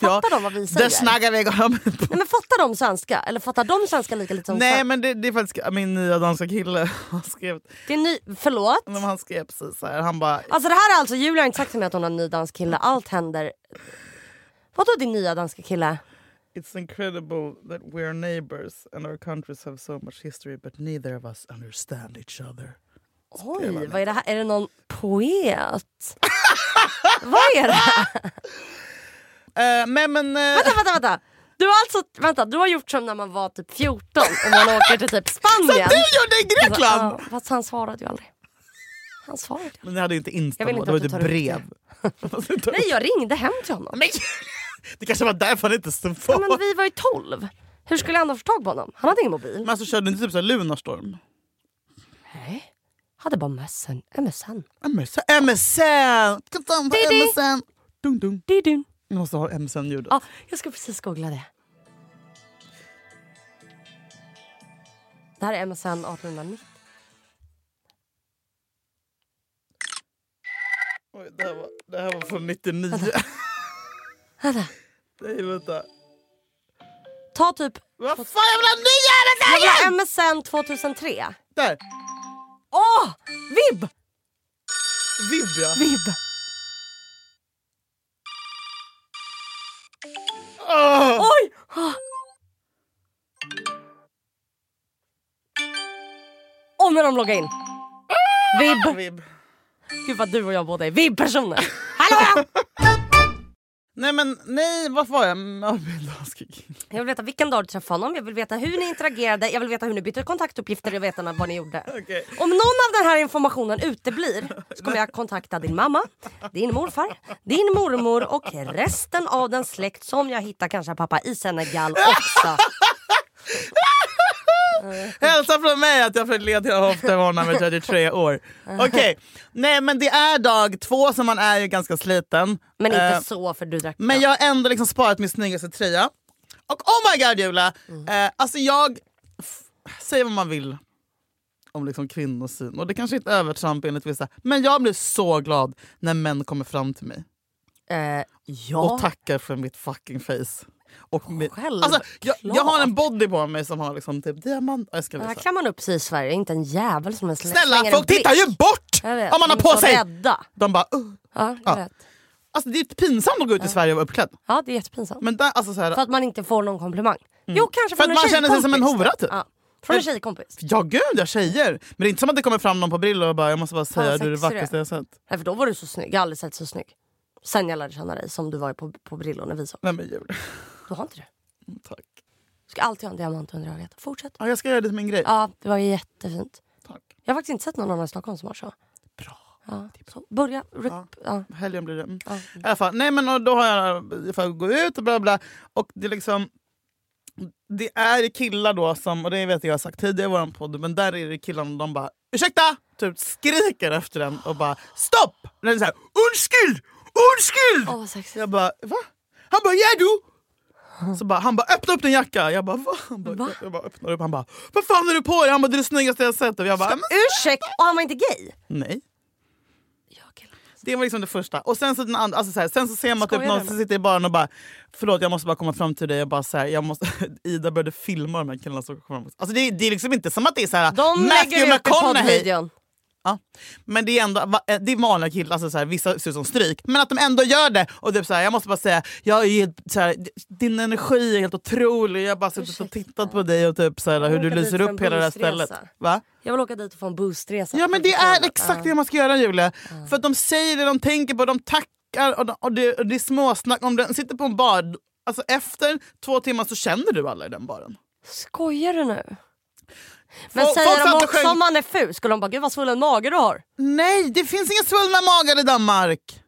Speaker 1: Fattar de vad vi säger?
Speaker 2: Där snaggar vi igång.
Speaker 1: Nej, men fattar de svenska? Eller fattar de svenska lika lite som
Speaker 2: Nej
Speaker 1: sven-
Speaker 2: men det, det är faktiskt min nya danska kille. Han skrev,
Speaker 1: Det är ny... Förlåt?
Speaker 2: men han skrev precis så här. Han bara,
Speaker 1: Alltså det här är alltså, Julia har inte sagt till mig att hon har en ny dansk kille. Allt händer... Vadå din nya danska kille?
Speaker 2: It's incredible that we're neighbors and our countries have so much history but neither of us understand each other.
Speaker 1: Oj, vad är det här? Är det någon poet? vad är det?
Speaker 2: Eh, men men... eh,
Speaker 1: Vänta, vänta, vänta. Du har alltså, vänta, du har gjort som när man var typ 14 och man åker till typ
Speaker 2: som
Speaker 1: Spanien.
Speaker 2: du gjorde i Grekland!
Speaker 1: Alltså, Ja, fast han svarade ju aldrig. Han svarade ju.
Speaker 2: Men ni hade ju inte Insta
Speaker 1: Jag vill
Speaker 2: då,
Speaker 1: inte
Speaker 2: det var
Speaker 1: att
Speaker 2: ju
Speaker 1: du
Speaker 2: ett
Speaker 1: tar
Speaker 2: brev.
Speaker 1: Nej, jag ringde hem till honom.
Speaker 2: men Julia, det kanske var därför han inte stod på.
Speaker 1: Ja, Men vi var ju 12. Hur skulle han ha fått tag på honom? Han hade ingen mobil.
Speaker 2: Men alltså körde ni inte typ så här Lunarstorm?
Speaker 1: Nej. Hade bara mössen. MSN.
Speaker 2: MSN! MSN! Kom fram på
Speaker 1: Didi.
Speaker 2: MSN! Dung, dung.
Speaker 1: Didun.
Speaker 2: Ni måste ha MSN-ljudet.
Speaker 1: Ja, jag ska precis googla det. Det här är MSN 1890.
Speaker 2: Oj, det, här var, det här var från 99.
Speaker 1: Vänta.
Speaker 2: Nej vänta.
Speaker 1: Ta typ
Speaker 2: Vad fan jag vill ha nya MSN!
Speaker 1: jävla MSN 2003.
Speaker 2: Där!
Speaker 1: Åh! Vibb!
Speaker 2: Vibb ja.
Speaker 1: Vibb!
Speaker 2: Åh!
Speaker 1: Oj! Om när de loggar in. Vibb!
Speaker 2: Vibb.
Speaker 1: Gud vad du och jag båda är vibb-personer. Hallå!
Speaker 2: Nej men nej, varför var jag möbeldasig?
Speaker 1: Jag vill veta vilken dag du träffade honom, jag vill veta hur ni interagerade, jag vill veta hur ni bytte kontaktuppgifter, jag vill veta vad ni gjorde.
Speaker 2: Okej.
Speaker 1: Om någon av den här informationen uteblir så kommer jag kontakta din mamma, din morfar, din mormor och resten av den släkt som jag hittar kanske pappa i Senegal också.
Speaker 2: Hälsa från mig att jag fick led till höftleverna vid 33 år. Okej, nej men det är dag två så man är ju ganska sliten.
Speaker 1: Men
Speaker 2: Eh,
Speaker 1: inte så för du drack
Speaker 2: Men jag har ändå liksom sparat min snyggaste tröja. Och oh my god Julia!
Speaker 1: Mm.
Speaker 2: Eh, alltså jag... f- Säg vad man vill om liksom kvinnosyn. Och det kanske inte är övertramp enligt vissa. Men jag blir så glad när män kommer fram till mig
Speaker 1: Eh, ja.
Speaker 2: och tackar för mitt fucking face. Och mitt-
Speaker 1: Självklart.
Speaker 2: alltså, jag, jag har en body på mig som har liksom typ diamant... Jag ska
Speaker 1: Det här
Speaker 2: visa.
Speaker 1: klär man upp sig i Sverige, inte en jävel som ens
Speaker 2: Snälla,
Speaker 1: slänger en
Speaker 2: folk tittar ju
Speaker 1: blick.
Speaker 2: bort
Speaker 1: Jag vet,
Speaker 2: om man har
Speaker 1: de är
Speaker 2: på
Speaker 1: så
Speaker 2: sig!
Speaker 1: Rädda.
Speaker 2: De bara... Uh.
Speaker 1: Ja, jag
Speaker 2: Ja.
Speaker 1: vet.
Speaker 2: Alltså, det är pinsamt att gå ut i Sverige och vara uppklädd.
Speaker 1: ja, det är jättepinsamt.
Speaker 2: Men där, alltså, så här,
Speaker 1: För att man inte får någon komplimang. Jo, kanske
Speaker 2: Mm. För
Speaker 1: från
Speaker 2: att
Speaker 1: en
Speaker 2: man känner sig som en
Speaker 1: tjejkompis.
Speaker 2: hora, typ.
Speaker 1: Ja, från en
Speaker 2: Men-
Speaker 1: tjejkompis.
Speaker 2: Ja gud ja, tjejer! Men det är inte som att det kommer fram någon på Brillo och bara “jag måste bara säga
Speaker 1: vad
Speaker 2: du är det
Speaker 1: sexig du
Speaker 2: vackraste
Speaker 1: är."
Speaker 2: jag sett”.
Speaker 1: Nej, för då var du så snygg. Jag har aldrig sett så snygg. Sen jag lärde känna dig som du var på, på Brillo när vi såg.
Speaker 2: Nej men Julia,
Speaker 1: Du har inte det.
Speaker 2: tack.
Speaker 1: Du ska alltid ha en diamant under ögat. Fortsätt.
Speaker 2: Ja, jag ska göra det till min grej.
Speaker 1: Ja, det var jättefint.
Speaker 2: Tack.
Speaker 1: Jag har faktiskt inte sett någon annan i Stockholm som har så.
Speaker 2: Bra.
Speaker 1: Ja, så börja. Ja. Ja.
Speaker 2: Helgen blir det. Mm.
Speaker 1: Ja.
Speaker 2: I alla fall, nej men och då har jag, jag får gå ut och bla bla. Och det är liksom... Det är killar då som, och det vet jag jag har sagt tidigare i vår podd, men där är det killarna de bara “ursäkta!” typ skriker efter den och bara “stopp!” Och den är såhär “undskyld! Undskyld!”
Speaker 1: Åh, vad sexigt.
Speaker 2: Jag bara va? Han bara ja du! Så bara, han bara öppna upp din jacka. Jag bara va? Han bara,
Speaker 1: Va?
Speaker 2: Jag bara öppnar upp. Han bara vad fan har du på dig? Han bara det är det snyggaste jag har sett. Och jag bara men,
Speaker 1: Ursäkta! Och han var inte gay?
Speaker 2: nej.
Speaker 1: Ja, killar.
Speaker 2: Det var liksom det första. Och sen så, den andra, alltså så här, sen så ser man typ
Speaker 1: Skojar
Speaker 2: någon
Speaker 1: du
Speaker 2: som sitter i baren och bara förlåt jag måste bara komma fram till dig. Jag bara, så här, jag måste, Ida började filma de här killarna som kom fram. Alltså det, är- det är liksom inte som att det är så här,
Speaker 1: De lägger ut i poddvideon.
Speaker 2: Ja. Men det är ändå va- eh, det är vanliga killar, alltså så här, vissa ser ut som stryk, men att de ändå gör det. Och typ så här, jag måste bara säga, jag är helt, så här, d- din energi är helt otrolig. Jag har bara suttit och
Speaker 1: Ursäkta.
Speaker 2: tittat på dig och typ så här, hur du
Speaker 1: åker dit
Speaker 2: lyser
Speaker 1: för en
Speaker 2: upp hela det här
Speaker 1: bussresa.
Speaker 2: stället. Va?
Speaker 1: Jag vill åka dit och få en boostresa.
Speaker 2: Ja men det är exakt det
Speaker 1: Ja.
Speaker 2: man ska göra Julia. För att de säger det de tänker på, de tackar och, de, och, det, och det är småsnack. Om du sitter på en bar, alltså efter två timmar så känner du alla i den baren.
Speaker 1: Skojar du nu? Men
Speaker 2: Folk- folk
Speaker 1: säger
Speaker 2: satt
Speaker 1: de
Speaker 2: och
Speaker 1: också
Speaker 2: sjöng-
Speaker 1: om man är ful skulle de bara gud vad svullen mage du har.
Speaker 2: Nej, det finns inga svullna magar i Danmark!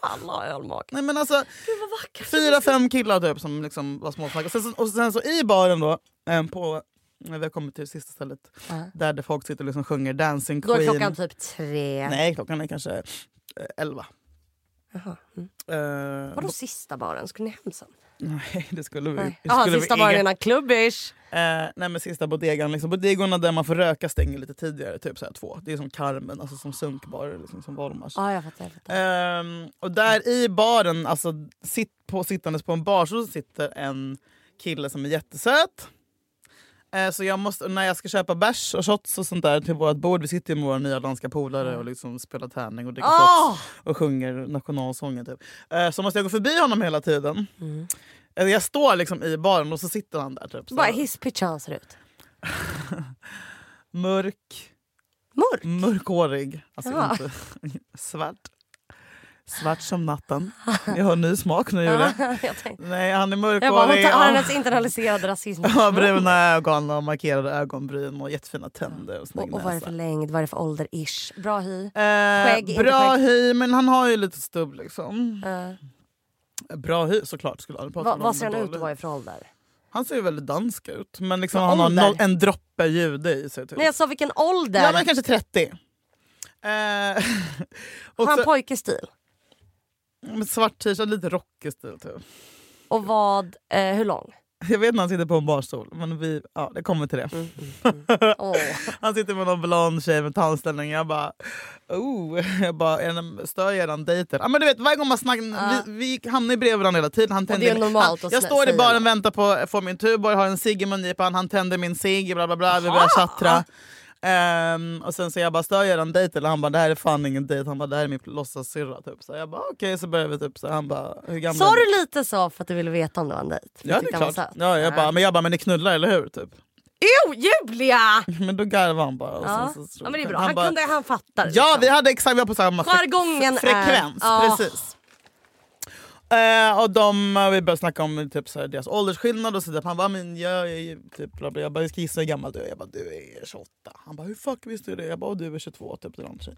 Speaker 1: Alla har ölmage.
Speaker 2: Nej men alltså...
Speaker 1: Gud vad vackert.
Speaker 2: fyra, fem killar typ som liksom var småsnackare. Och sen, och sen så i baren då, eh, på, när vi har kommit till sista stället,
Speaker 1: Ja.
Speaker 2: där det folk sitter och liksom sjunger Dancing
Speaker 1: Då
Speaker 2: Queen.
Speaker 1: är klockan typ tre.
Speaker 2: Nej, klockan är kanske eh, elva.
Speaker 1: Jaha. Mm.
Speaker 2: Eh,
Speaker 1: Vadå sista baren? Skulle ni hem sen?
Speaker 2: nej, det skulle vi,
Speaker 1: Nej.
Speaker 2: det
Speaker 1: Jaha,
Speaker 2: skulle
Speaker 1: sista
Speaker 2: vi
Speaker 1: baren
Speaker 2: ingen-
Speaker 1: innan klubbish.
Speaker 2: Eh, nej men sista bodegan. Liksom. Bodegorna där man får röka stänger lite tidigare, typ såhär två. Det är som Carmen, alltså som sunkbarer, liksom, som Valmars.
Speaker 1: Ja, jag fattar. Jag fattar.
Speaker 2: Ehm, och där i baren, alltså sitt på, sittandes på en bar, så sitter en kille som är jättesöt. Eh, så jag måste, när jag ska köpa bärs och shots och sånt där till vårt bord, vi sitter ju med våra nya danska polare och liksom spelar tärning och dricker
Speaker 1: Åh!
Speaker 2: shots och sjunger nationalsången. Typ. Eh, så måste jag gå förbi honom hela tiden. Eller jag står liksom i baren och så sitter han där. Typ, så
Speaker 1: Bara
Speaker 2: här,
Speaker 1: hisspitch han ser ut.
Speaker 2: mörk,
Speaker 1: Mörk.
Speaker 2: mörkhårig. Alltså
Speaker 1: Ja.
Speaker 2: inte svart. Svart som natten. Jag har ny smak nu Julia.
Speaker 1: Ja, jag tänkte.
Speaker 2: Nej, han är
Speaker 1: Jag bara, hon
Speaker 2: mörkhårig.
Speaker 1: tar, har han
Speaker 2: Han
Speaker 1: ens internaliserad rasism? Mm.
Speaker 2: har bruna ögon och markerade ögonbryn och jättefina tänder och snygg
Speaker 1: Och, och vad är det för
Speaker 2: näsa.
Speaker 1: längd? Vad är det för ålder-ish? Bra hy?
Speaker 2: Eh,
Speaker 1: skägg, inte
Speaker 2: bra
Speaker 1: skägg?
Speaker 2: hy, men han har ju lite stubb liksom.
Speaker 1: Eh,
Speaker 2: Bra hy såklart. Skulle aldrig prata
Speaker 1: vad,
Speaker 2: om
Speaker 1: vad
Speaker 2: det
Speaker 1: ser han ut
Speaker 2: dåligt.
Speaker 1: och vad är för ålder?
Speaker 2: Han ser ju väldigt dansk ut. Men liksom,
Speaker 1: Vad
Speaker 2: han har
Speaker 1: ålder?
Speaker 2: noll, en droppe jude i sig. Typ.
Speaker 1: Nej, jag sa vilken ålder?
Speaker 2: ja, men kanske 30. Eh, och
Speaker 1: har han
Speaker 2: så,
Speaker 1: pojkestil?
Speaker 2: med svart t-shirt, lite rockig stil. Typ.
Speaker 1: Och vad, eh, hur lång?
Speaker 2: Jag vet när han sitter på en barstol, men vi, ja, det kommer till det.
Speaker 1: Mm. Åh.
Speaker 2: Han sitter med någon blond tjej med tandställning. Jag bara... Oh. Jag bara är den- stör jag den dejten? Ja, men du vet, varje gång man snackar...
Speaker 1: Ja.
Speaker 2: Vi, vi hamnar ju bredvid varandra hela tiden. Han
Speaker 1: Ah. det är
Speaker 2: tänder,
Speaker 1: normalt
Speaker 2: han,
Speaker 1: att
Speaker 2: jag
Speaker 1: slä-
Speaker 2: står i
Speaker 1: säga
Speaker 2: baren
Speaker 1: det.
Speaker 2: väntar på att få min tuborg, har en cigg i mungipan, han tänder min cigg, bla bla bla. Vi börjar
Speaker 1: Ah.
Speaker 2: tjattra. Ehm, och sen så jag bara, stör jag den dejten? Eller Han bara, det här är fan ingen dejt. Han bara, det här är min låtsassyrra. Typ. Så jag bara, okej. Så börjar vi typ så. här. Han bara, hur gammal
Speaker 1: Sa
Speaker 2: är du?"
Speaker 1: du lite så för att du ville veta om det var en dejt? För du
Speaker 2: Ja, det
Speaker 1: tyckte
Speaker 2: är
Speaker 1: han var
Speaker 2: klart.
Speaker 1: söt?
Speaker 2: Ja, jag bara, men jag bara, men ni knullar eller hur? Typ.
Speaker 1: Jo, Julia!
Speaker 2: Men då garvade han bara. och
Speaker 1: Ja.
Speaker 2: sen så- så-
Speaker 1: ja men det är bra.
Speaker 2: Han
Speaker 1: Han,
Speaker 2: bara-
Speaker 1: kunde, han fattar.
Speaker 2: Ja,
Speaker 1: liksom.
Speaker 2: vi hade exakt vi var på samma fre-
Speaker 1: Jargongen är-
Speaker 2: frekvens.
Speaker 1: Ja.
Speaker 2: Precis. Eh, och de, eh, vi började snacka om typ, så här, deras åldersskillnad och så där. Han bara, men jag, är ju typ, bla, bla. jag bara, jag ska gissa hur gammal du är. Jag bara, du är 28. Han bara, hur fuck visste du det? Jag bara, och du är 22. Typ, eller någonting.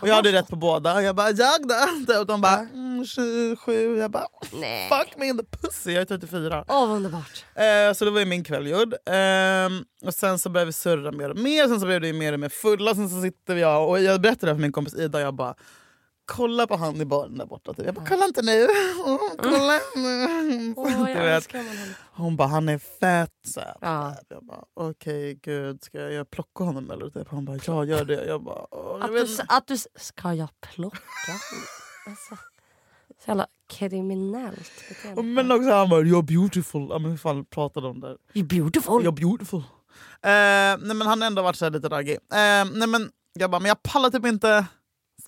Speaker 2: och jag hade rätt på båda. Jag bara, jag då? Och de bara, mm, 27. Jag bara,
Speaker 1: Nej.
Speaker 2: fuck me in the pussy. Jag är 34.
Speaker 1: Åh, vad underbart.
Speaker 2: Eh, så det var ju min kväll gjord. Ehm, och sen så började vi surra mer och mer, sen så blev det ju mer och mer fulla. Sen så sitter jag och jag berättade det här för min kompis Ida jag bara kolla på han i baren där borta. Typ. Jag bara kolla inte nu. Åh, kolla. nu."
Speaker 1: Åh, jag
Speaker 2: Du vet.
Speaker 1: älskar man honom.
Speaker 2: Hon bara han är fett söt.
Speaker 1: Ja.
Speaker 2: Jag bara okej gud ska jag plocka honom eller? Typ. Hon bara ja gör det. Jag bara "Åh, jag
Speaker 1: Att
Speaker 2: vet
Speaker 1: du,
Speaker 2: inte."
Speaker 1: att du... Ska jag plocka? alltså, så jävla kriminellt beteende.
Speaker 2: Men också han bara you're beautiful. Ja, men hur fan pratade de där?
Speaker 1: You're beautiful.
Speaker 2: You're beautiful. Eh, nej men han har ändå varit så här lite raggig. Eh, nej men jag bara, men jag pallar typ inte...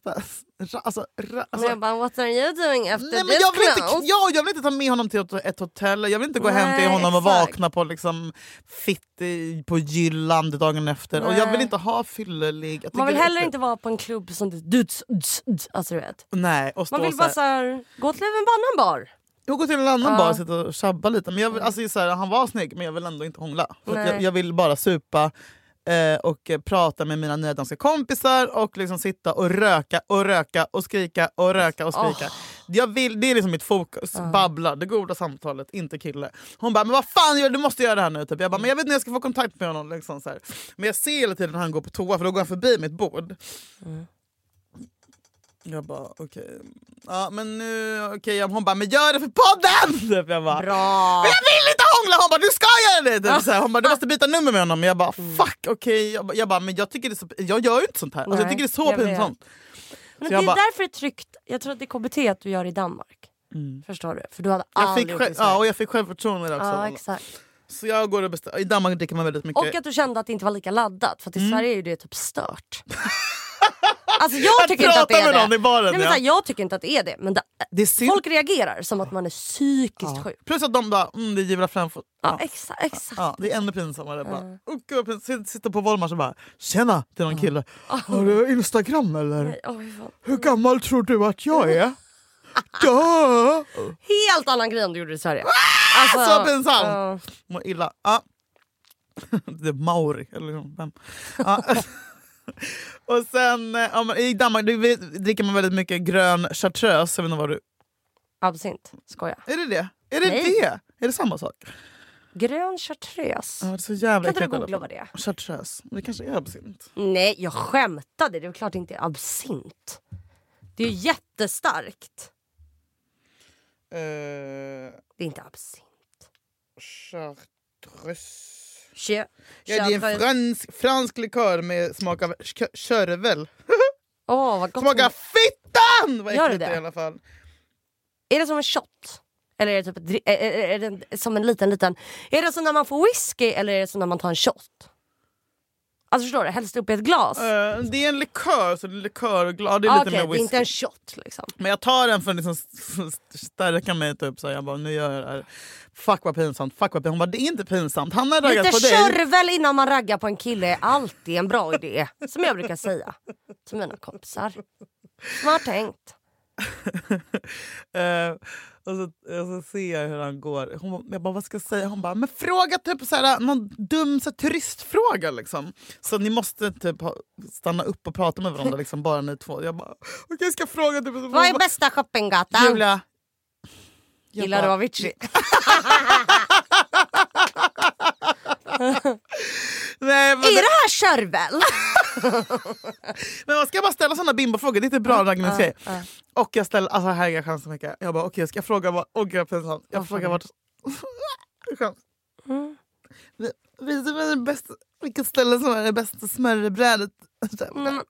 Speaker 2: Ra, alltså, ra,
Speaker 1: Alltså,
Speaker 2: alltså,
Speaker 1: jag bara, what are you doing after
Speaker 2: nej, men
Speaker 1: this
Speaker 2: jag, vill inte,
Speaker 1: clown?
Speaker 2: ja, jag vill inte ta med honom till ett- ett hotell, jag vill inte gå hem till
Speaker 1: Nej,
Speaker 2: honom och
Speaker 1: exakt.
Speaker 2: vakna på liksom, fitt i- på Jylland dagen efter. Och jag vill
Speaker 1: Nej.
Speaker 2: inte ha fyllelig... jag
Speaker 1: Man vill
Speaker 2: tycker det är
Speaker 1: heller
Speaker 2: äckligt.
Speaker 1: inte vara på en klubb som det duts, duts, duts, alltså du vet.
Speaker 2: Nej, och stå
Speaker 1: Man vill
Speaker 2: så här,
Speaker 1: bara såhär, gå till en annan bar.
Speaker 2: Jag går till en annan
Speaker 1: Ja. Mm.
Speaker 2: bar och sitter och tjabbar lite. Men jag vill, alltså, så här, han var snygg men jag vill ändå inte hångla. För att
Speaker 1: Nej.
Speaker 2: jag, jag vill bara supa eh, och eh, prata med mina nydanska kompisar och liksom sitta och röka och röka och skrika och röka och skrika. Jag vill, det är liksom mitt fokus. Babbla, det goda samtalet, inte kille. Hon bara “men vad fan gör du? Du måste göra det här nu”. Typ. Jag bara “men jag vet inte hur jag ska få kontakt med honom”. Liksom, så här. Men jag ser hela tiden när han går på toa för då går han förbi mitt bord. Jag bara okej. Ja men nu, okej. Hon bara men gör det för podden! Typ, jag bara,
Speaker 1: Bra!
Speaker 2: men jag vill inte hångla! Hon bara du ska göra det! Typ, så här. Hon bara du måste byta nummer med honom. Jag bara
Speaker 1: Mm.
Speaker 2: fuck okej. Jag, bara- jag bara men jag tycker det är så, jag gör ju inte sånt här. Alltså, jag
Speaker 1: Nej,
Speaker 2: tycker det är så
Speaker 1: jag vet.
Speaker 2: pinsamt.
Speaker 1: Men
Speaker 2: Så
Speaker 1: det
Speaker 2: jag
Speaker 1: är
Speaker 2: bara-
Speaker 1: därför det är tryggt, jag tror att det är KBT att du gör i Danmark. Förstår du? För du hade
Speaker 2: Mm. Jag
Speaker 1: aldrig
Speaker 2: fick,
Speaker 1: gjort det
Speaker 2: själv,
Speaker 1: i Sverige.
Speaker 2: ja, och jag fick självförtroende där också.
Speaker 1: Ja, exakt.
Speaker 2: så jag går och beställer. I Danmark dricker man väldigt mycket.
Speaker 1: Och att du kände att det inte var lika laddat, för att i
Speaker 2: Mm.
Speaker 1: Sverige är ju det typ stört. alltså jag
Speaker 2: Att
Speaker 1: tycker inte att det
Speaker 2: prata
Speaker 1: är
Speaker 2: med
Speaker 1: det.
Speaker 2: någon i baren,
Speaker 1: Nej, men,
Speaker 2: ja.
Speaker 1: så här, jag tycker inte att det är det, men det,
Speaker 2: det är synd.
Speaker 1: folk reagerar som att man är psykiskt sjuk.
Speaker 2: Plus att de bara mm, det är jävla framför.
Speaker 1: Ja, exakt. exakt.
Speaker 2: Ja, det är ännu pinsammare. Bara, "Åh, gud, vad pinsamt." Sitter på Volmars och bara “tjena” till någon kille. “Har du Instagram eller?”
Speaker 1: Ah. Nej, oj, fan.
Speaker 2: Hur gammal tror du att jag är? Dö!
Speaker 1: Helt annan grej än du gjorde i Sverige. Alltså,
Speaker 2: Så pinsamt!
Speaker 1: ja.
Speaker 2: Mår illa. Ja. Det är Mauri, eller liksom, vem? Ja. Och sen, eh, ja, men i Danmark det- dricker man väldigt mycket grön chartreuse. Jag vet inte vad du...
Speaker 1: Absint, skoja.
Speaker 2: Är det det? Är det
Speaker 1: Nej.
Speaker 2: det? Är det samma sak?
Speaker 1: Grön chartreuse.
Speaker 2: Ja, det är så jävla
Speaker 1: Kan inte du
Speaker 2: äckligt i alla
Speaker 1: googla
Speaker 2: fall.
Speaker 1: vad det är?
Speaker 2: Chartreuse. Det kanske är absint.
Speaker 1: Nej, jag skämtade. Det är klart det inte är absint. Det är ju jättestarkt.
Speaker 2: Eh,
Speaker 1: Det är inte absint.
Speaker 2: chartreuse.
Speaker 1: Tjö.
Speaker 2: Ja, det är en fransk, fransk likör med smak av kö- körvel.
Speaker 1: Åh, vad gott.
Speaker 2: Smaka fittan! Vad
Speaker 1: Gör
Speaker 2: äckligt
Speaker 1: det?
Speaker 2: det är i alla fall.
Speaker 1: Är det som en shot? Eller är det, typ, ett dri- är, är, är det som en liten, liten... Är det som när man får whisky eller är det som när man tar en shot? Alltså förstår du? Hälls det upp i ett glas? Uh,
Speaker 2: Eh, det är en likör, så det är likörglas. Det är
Speaker 1: ah,
Speaker 2: lite
Speaker 1: Okej,
Speaker 2: mer
Speaker 1: det är inte
Speaker 2: whisky.
Speaker 1: en shot liksom.
Speaker 2: Men jag tar den för att liksom st- st- stärka mig. Typ, så jag bara, nu gör jag det här. Fuck vad pinsamt. Fuck vad pinsamt. Hon bara, det är inte pinsamt. Han har raggat
Speaker 1: Lite
Speaker 2: på dig.
Speaker 1: körvel innan man raggar på en kille är alltid en bra idé. Som jag brukar säga till mina kompisar. Smart tänkt.
Speaker 2: Eh, och, så, och så ser jag hur han går. Hon, jag bara, vad ska jag säga? Hon bara, men fråga typ så här, någon dum så här, turistfråga. Liksom. Så ni måste typ ha, stanna upp och prata med varandra, liksom, bara ni två. Jag bara, okej jag ska fråga. Typ. Hon
Speaker 1: Vad är
Speaker 2: bara,
Speaker 1: bästa shoppinggatan?
Speaker 2: Julia. Jag
Speaker 1: Gillar du
Speaker 2: bara,
Speaker 1: Avicii?
Speaker 2: Nej, men,
Speaker 1: Är det här körvel?
Speaker 2: men man ska bara ställa såna bimbofrågor, det är inte bra raggningsgrej. Och jag ställer, alltså här är jag chans så mycket. Jag bara okej jag ska fråga vad, åh gud vad pinsamt. Jag frågar vart... Skämt.
Speaker 1: Mm.
Speaker 2: Vi- Vet du vad det bästa, vilket ställe som är det bästa smörrebrädet?
Speaker 1: Mm.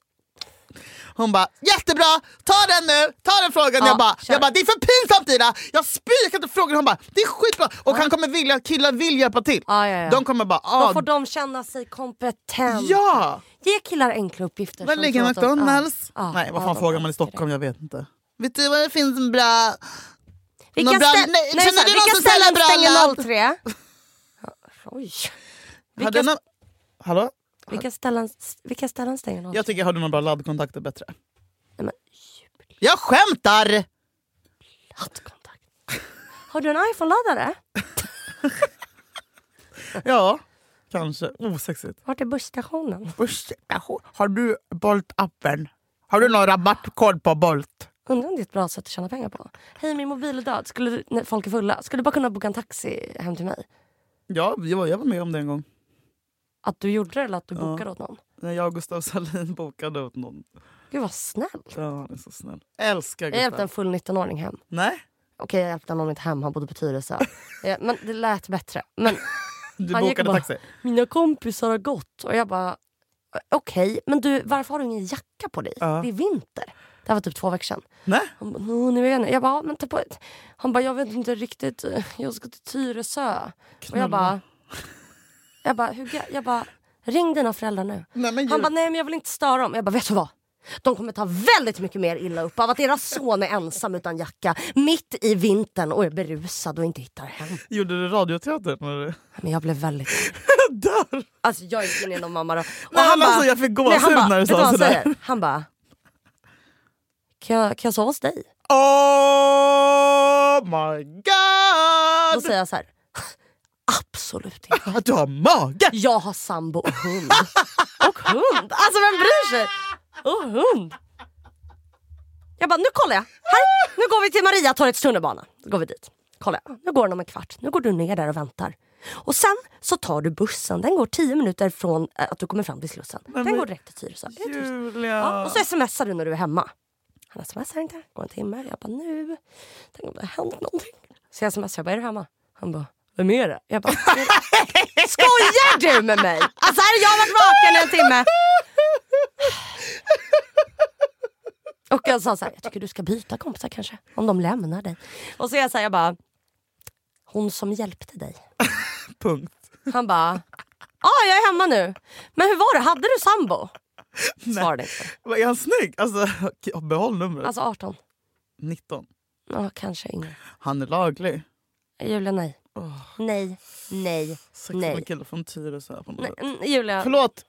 Speaker 2: Hon bara jättebra, ta den nu, ta den frågan.
Speaker 1: Ja,
Speaker 2: jag, bara,
Speaker 1: kör.
Speaker 2: jag bara det är för pinsamt Ida, jag spyr, jag kan inte fråga. Hon bara det är skitbra. Och han kommer vilja, killar vill hjälpa till.
Speaker 1: Ja, ja, ja.
Speaker 2: De kommer bara
Speaker 1: Då får
Speaker 2: ah,
Speaker 1: de känna sig kompetenta.
Speaker 2: ja.
Speaker 1: Ge killar enkla uppgifter.
Speaker 2: Var
Speaker 1: som
Speaker 2: ligger
Speaker 1: tror att de-
Speaker 2: McDonalds?
Speaker 1: Ja, ja,
Speaker 2: Nej, vad
Speaker 1: ja,
Speaker 2: fan
Speaker 1: de
Speaker 2: frågar man i
Speaker 1: älskar det.
Speaker 2: Stockholm? Jag vet inte. Vet du vad det finns en bra...
Speaker 1: Vilka,
Speaker 2: Någon bra-
Speaker 1: stä-
Speaker 2: Nej,
Speaker 1: nej,
Speaker 2: känner
Speaker 1: så här,
Speaker 2: du någon
Speaker 1: vilka
Speaker 2: som säljer
Speaker 1: ställen
Speaker 2: bra
Speaker 1: stänger
Speaker 2: öl?
Speaker 1: 03? Ja, Oj.
Speaker 2: Hade
Speaker 1: Vilka,
Speaker 2: någon, Hallå?
Speaker 1: Vilka ställen, vilka ställen stänger de?
Speaker 2: Jag tycker jag hade några bra laddkontakter bättre.
Speaker 1: Nej, men,
Speaker 2: Jag skämtar!
Speaker 1: laddkontakt. Har du en iPhone-laddare?
Speaker 2: Ja, kanske. Oh, Osexigt.
Speaker 1: Vart är busstationen?
Speaker 2: Ursäkta, har du Bolt-appen? Har du någon rabattkod på Bolt?
Speaker 1: Undrar om det är ett bra sätt att tjäna pengar på. Hej min mobil är död, skulle du, när folk är fulla. Skulle du bara kunna boka en taxi hem till mig?
Speaker 2: Ja, jag var, jag var med om det en gång.
Speaker 1: Att du gjorde det eller att du bokade åt någon?
Speaker 2: När jag och Gustav Salin bokade åt någon.
Speaker 1: Gud vad snällt.
Speaker 2: Ja, han är så snäll. Älskar
Speaker 1: Jag hjälpte
Speaker 2: Gustav.
Speaker 1: en full 19-åring hem.
Speaker 2: Nej,
Speaker 1: Okej jag hjälpte honom inte hem, han bodde på Tyresö. Ja, men det lät bättre. Men
Speaker 2: du
Speaker 1: Han gick
Speaker 2: bokade
Speaker 1: bara-
Speaker 2: taxi.
Speaker 1: mina kompisar har gått och jag bara eh, okej men du varför har du ingen jacka på dig?
Speaker 2: Ja.
Speaker 1: Det är vinter. Det här var typ två veckor sedan.
Speaker 2: Nej,
Speaker 1: Han bara, "Nå, nu är jag, nöjd." jag bara, "Ja, men ta på ett. Han bara, jag vet inte riktigt, eh, jag ska till Tyresö. Och jag bara, jag bara, hur, ga- jag bara, ring dina föräldrar nu.
Speaker 2: Nej, men
Speaker 1: Han
Speaker 2: Julia-
Speaker 1: bara, nej men jag vill inte störa dem. Jag bara, vet du vad? De kommer ta väldigt mycket mer illa upp av att deras son är ensam utan jacka mitt i vintern och är berusad och inte hittar hem.
Speaker 2: gjorde du radioteater? När du...
Speaker 1: Men jag blev väldigt...
Speaker 2: Jag dör!
Speaker 1: Alltså jag gick in i någon mamma då. Och
Speaker 2: Nej, men alltså, jag fick
Speaker 1: nej, han
Speaker 2: gåshud
Speaker 1: bara,
Speaker 2: när du
Speaker 1: vet
Speaker 2: sa
Speaker 1: vad han
Speaker 2: sådär.
Speaker 1: säger? Han bara, kan jag, kan jag sova hos dig?
Speaker 2: Oh my
Speaker 1: Då
Speaker 2: god!
Speaker 1: säger jag så här, absolut inte.
Speaker 2: Att du har mage!
Speaker 1: Jag har sambo och hund. och hund! Alltså vem bryr sig? Och hund. Jag bara, nu kollar jag. Här, nu går vi till Mariatorgets tunnelbana. Då går vi dit. Kollar jag. Nu går den om en kvart. Nu går du ner där och väntar. Och sen så tar du bussen. Den går tio minuter från eh, att du kommer fram till Slussen. Den
Speaker 2: men-
Speaker 1: går direkt till Tyresö. Det är Tyresö. Ja,
Speaker 2: Julia!
Speaker 1: och så smsar du när du är hemma. Han smsar inte, går en timme. Jag bara nu, tänk om det har hänt någonting. Så jag smsar, jag bara är du hemma? Han bara, vem är det? Jag bara, skojar du med mig? Alltså här har jag varit vaken i en timme. Och jag sa så här, jag tycker du ska byta kompisar kanske. Om de lämnar dig. Och så är jag så här, jag bara, hon som hjälpte dig.
Speaker 2: Punkt.
Speaker 1: Han bara, ja jag är hemma nu. Men hur var det, hade du sambo? Svarade inte.
Speaker 2: Vad Är han snygg? Alltså, okej, behåll numret.
Speaker 1: Alltså 18.
Speaker 2: 19.
Speaker 1: Ja, kanske yngre.
Speaker 2: Han är laglig.
Speaker 1: Julia, nej. Nej, nej,
Speaker 2: Sex med en
Speaker 1: nej.
Speaker 2: kille från Tyresö. på något
Speaker 1: nej.
Speaker 2: sätt.
Speaker 1: mm, Julia,
Speaker 2: Förlåt!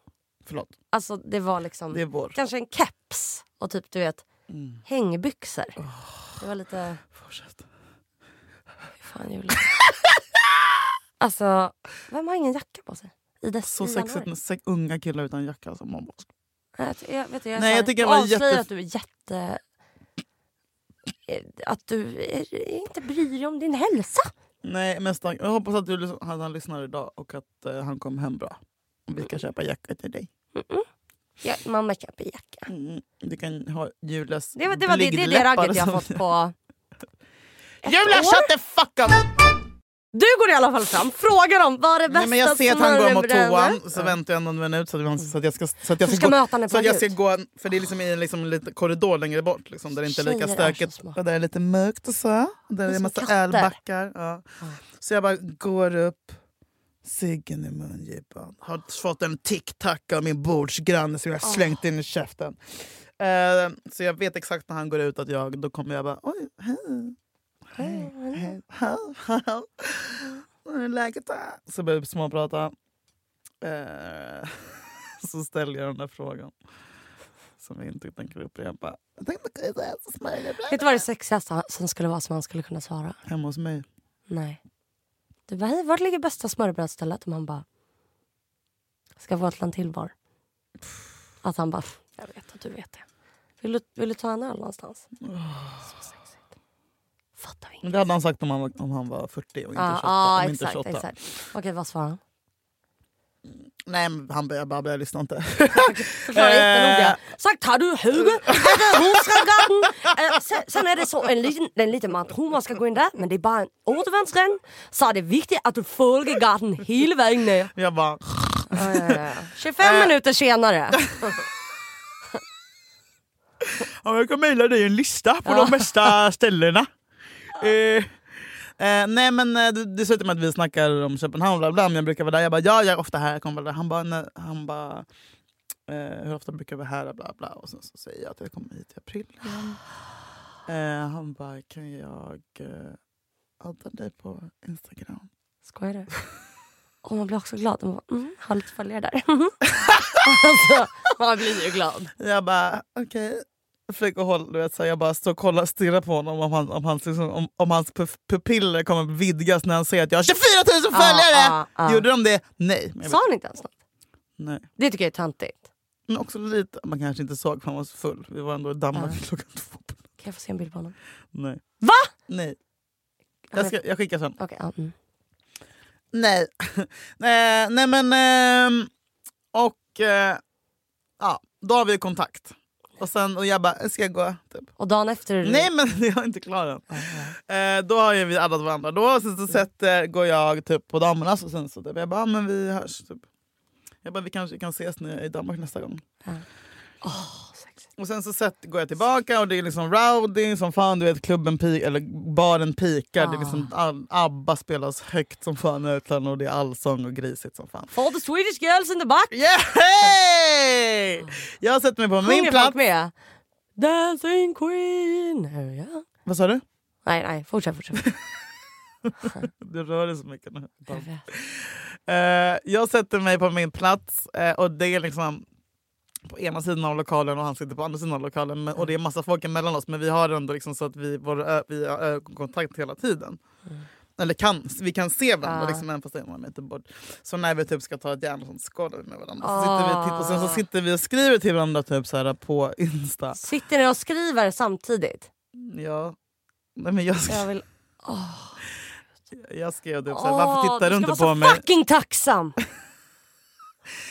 Speaker 2: Förlåt,
Speaker 1: alltså det var liksom
Speaker 2: det är vår. Mm,
Speaker 1: kanske en keps och typ du vet hängbyxor. Det var lite...
Speaker 2: Fortsätt.
Speaker 1: Fy Fan Julia. alltså, vem har ingen jacka på sig? I dess,
Speaker 2: Så
Speaker 1: i
Speaker 2: sexigt
Speaker 1: januari?
Speaker 2: med sex, unga killar utan jacka. Som man bara...
Speaker 1: Nej, Jag, jag, vet du, jag, är
Speaker 2: Nej,
Speaker 1: så här-
Speaker 2: jag tycker det var
Speaker 1: avslöjar
Speaker 2: jätte-
Speaker 1: att du är jätte... eh, Att du eh, inte bryr dig om din hälsa.
Speaker 2: Nej, men stack, jag hoppas att du lys- att han lyssnar idag och att eh, han kom hem bra. Vi kan köpa jacka till dig.
Speaker 1: Ja, mamma köper jacka.
Speaker 2: Mm. Du kan ha Julias
Speaker 1: Det, var- det, var det, det är det
Speaker 2: blygdläppar
Speaker 1: ragget jag har
Speaker 2: som-
Speaker 1: fått på...
Speaker 2: Julia,
Speaker 1: år.
Speaker 2: shut the fuck up!
Speaker 1: Du går i alla fall fram, frågar dem vad är det bästa
Speaker 2: Nej, men jag ser att
Speaker 1: som
Speaker 2: han
Speaker 1: har
Speaker 2: går mot
Speaker 1: överens?
Speaker 2: toan, så väntar jag någon minut så att, man, så att jag ska, så att jag
Speaker 1: Du ska
Speaker 2: gå,
Speaker 1: möta henne
Speaker 2: så
Speaker 1: på
Speaker 2: att jag ska
Speaker 1: ljud.
Speaker 2: gå en- För det är liksom i en liksom, lite korridor längre bort liksom, där det inte är
Speaker 1: Tjejer
Speaker 2: lika
Speaker 1: är så
Speaker 2: stökigt.
Speaker 1: smarta.
Speaker 2: Och där är lite mörkt och så. Och där
Speaker 1: är
Speaker 2: är en
Speaker 1: som
Speaker 2: massa
Speaker 1: katter.
Speaker 2: ölbackar. Ja. Så jag bara går upp, ciggen i mungipan. Har fått en tic-tac av min bordsgranne som jag
Speaker 1: Ah.
Speaker 2: har slängt in i käften. Eh, så jag vet exakt när han går ut att jag, då kommer jag bara oj, hej. Hej, hej, hej, hej. Hur är läget? då?" Så börjar vi småprata. Eh, så ställer jag den där frågan. Som vi inte tänker upprepa. Jag tänkte kunna säga så smörjigt.
Speaker 1: Vet du vad det sexigaste som skulle vara som han skulle kunna svara?
Speaker 2: Hemma hos mig.
Speaker 1: Nej. Du bara, hej vart ligger bästa smörrebrödsstället? Och man bara, ska Våtland till var? Att han bara, jag vet att du vet det. Vill du, vill du ta en öl någonstans? Så sexigt. Fattar vi
Speaker 2: Men
Speaker 1: inget.
Speaker 2: det hade han sagt om han, var- om han var 40 och inte 28.
Speaker 1: Ja, ja,
Speaker 2: om inte
Speaker 1: Ah, exakt,
Speaker 2: 28.
Speaker 1: exakt. Okej, vad svarar han?
Speaker 2: Nej, men han började babbla, jag lyssnade inte.
Speaker 1: Förklara
Speaker 2: Eh.
Speaker 1: jättenoga. Sagt har du höger, är det Rosengården? Eh, sen, sen är det så en liten, en liten man tror man ska gå in där men det är bara en återvändsgränd. Så är det viktigt att du följer garden hela vägen ner.
Speaker 2: Jag bara...
Speaker 1: Ja, ja, ja. 25
Speaker 2: Eh.
Speaker 1: minuter senare.
Speaker 2: Ja, jag kan mejla dig en lista på de bästa ställena. Eh, eh, nej men eh, det det slutar med att vi snackar om Köpenhamn, bla bla, men jag brukar vara där. Jag bara ja, jag är ofta här. Jag kommer vara där. Han bara, nej, han bara eh, hur ofta brukar vi vara här? Bla, bla. Och sen så säger jag att jag kommer hit i april igen. Eh, han bara, kan jag eh, adda dig på Instagram?
Speaker 1: Skojar du? Och man blir också glad. Man bara, mm, har lite följare där. alltså, man blir ju glad.
Speaker 2: Jag bara, okej. Jag försöker hålla, du vet, så här, jag bara står och kollar stirrar på honom om, han, om, hans, liksom, om, om hans pu- pupiller kommer vidgas när han ser att jag har 24 000
Speaker 1: Ja,
Speaker 2: följare!
Speaker 1: ja, ja.
Speaker 2: Gjorde de det? Nej. Men jag
Speaker 1: Sa
Speaker 2: vet-
Speaker 1: han inte ens något?
Speaker 2: Nej.
Speaker 1: Det tycker jag är töntigt.
Speaker 2: Men också lite, man kanske inte såg för han var så full. Vi var ändå i Danmark klockan två. på-
Speaker 1: Kan jag få se en bild på honom?
Speaker 2: Nej.
Speaker 1: Va?
Speaker 2: Nej. Jag, ska, jag skickar sen.
Speaker 1: Okej, ja, mm.
Speaker 2: Nej. Eh, nej men... ehm, och... Eh, ja, då har vi ju kontakt. Och sen och jag bara, ska jag gå? Typ.
Speaker 1: Och dagen efter...
Speaker 2: Nej men jag är inte klar än. Eh, då har ju vi addat varandra. Då sen
Speaker 1: Mm.
Speaker 2: så sätter, går jag typ på damernas och sen så typ, jag bara, ah, men vi hörs. Typ. Jag bara, vi kanske kan ses när jag är i Danmark nästa gång. Och sen så sätt, går jag tillbaka och det är liksom rowdy som fan. Du vet klubben peak, eller baren pikar. Det är liksom,
Speaker 1: Ah.
Speaker 2: all, ABBA spelas högt som fan i utlandet och det är allsång och grisigt som fan.
Speaker 1: For the Swedish girls in the back!
Speaker 2: Yeah! Hey! Jag har sett mig på min
Speaker 1: Ah. Sjunger folk
Speaker 2: plats.
Speaker 1: med? Dancing queen! Hör jag?
Speaker 2: Vad sa du?
Speaker 1: Nej, nej, fortsätt. fortsätt.
Speaker 2: Du rör dig så mycket nu.
Speaker 1: Jag vet.
Speaker 2: Eh, jag sätter mig på min plats eh, och det är liksom på ena sidan av lokalen och han sitter på andra sidan av lokalen. Men, och det är massa folk emellan oss men vi har ändå liksom så att vi, vår, ö- vi har ögonkontakt hela tiden. Eller kan, vi kan se varandra
Speaker 1: Mm. Ja.
Speaker 2: liksom, även fast det är några meter bort. Så när vi typ ska ta ett järn och sånt, så skålar vi med varandra. Så sitter vi och, tittar, och sen så
Speaker 1: Ah.
Speaker 2: sitter vi och skriver till varandra typ så här, på Insta.
Speaker 1: Sitter ni och skriver samtidigt?
Speaker 2: Ja. Nej, men jag,
Speaker 1: Jag
Speaker 2: skrev,
Speaker 1: vill...
Speaker 2: jag skrev typ så här, varför
Speaker 1: Åh,
Speaker 2: tittar du
Speaker 1: ska
Speaker 2: inte
Speaker 1: vara
Speaker 2: på
Speaker 1: så
Speaker 2: mig?
Speaker 1: fucking tacksam!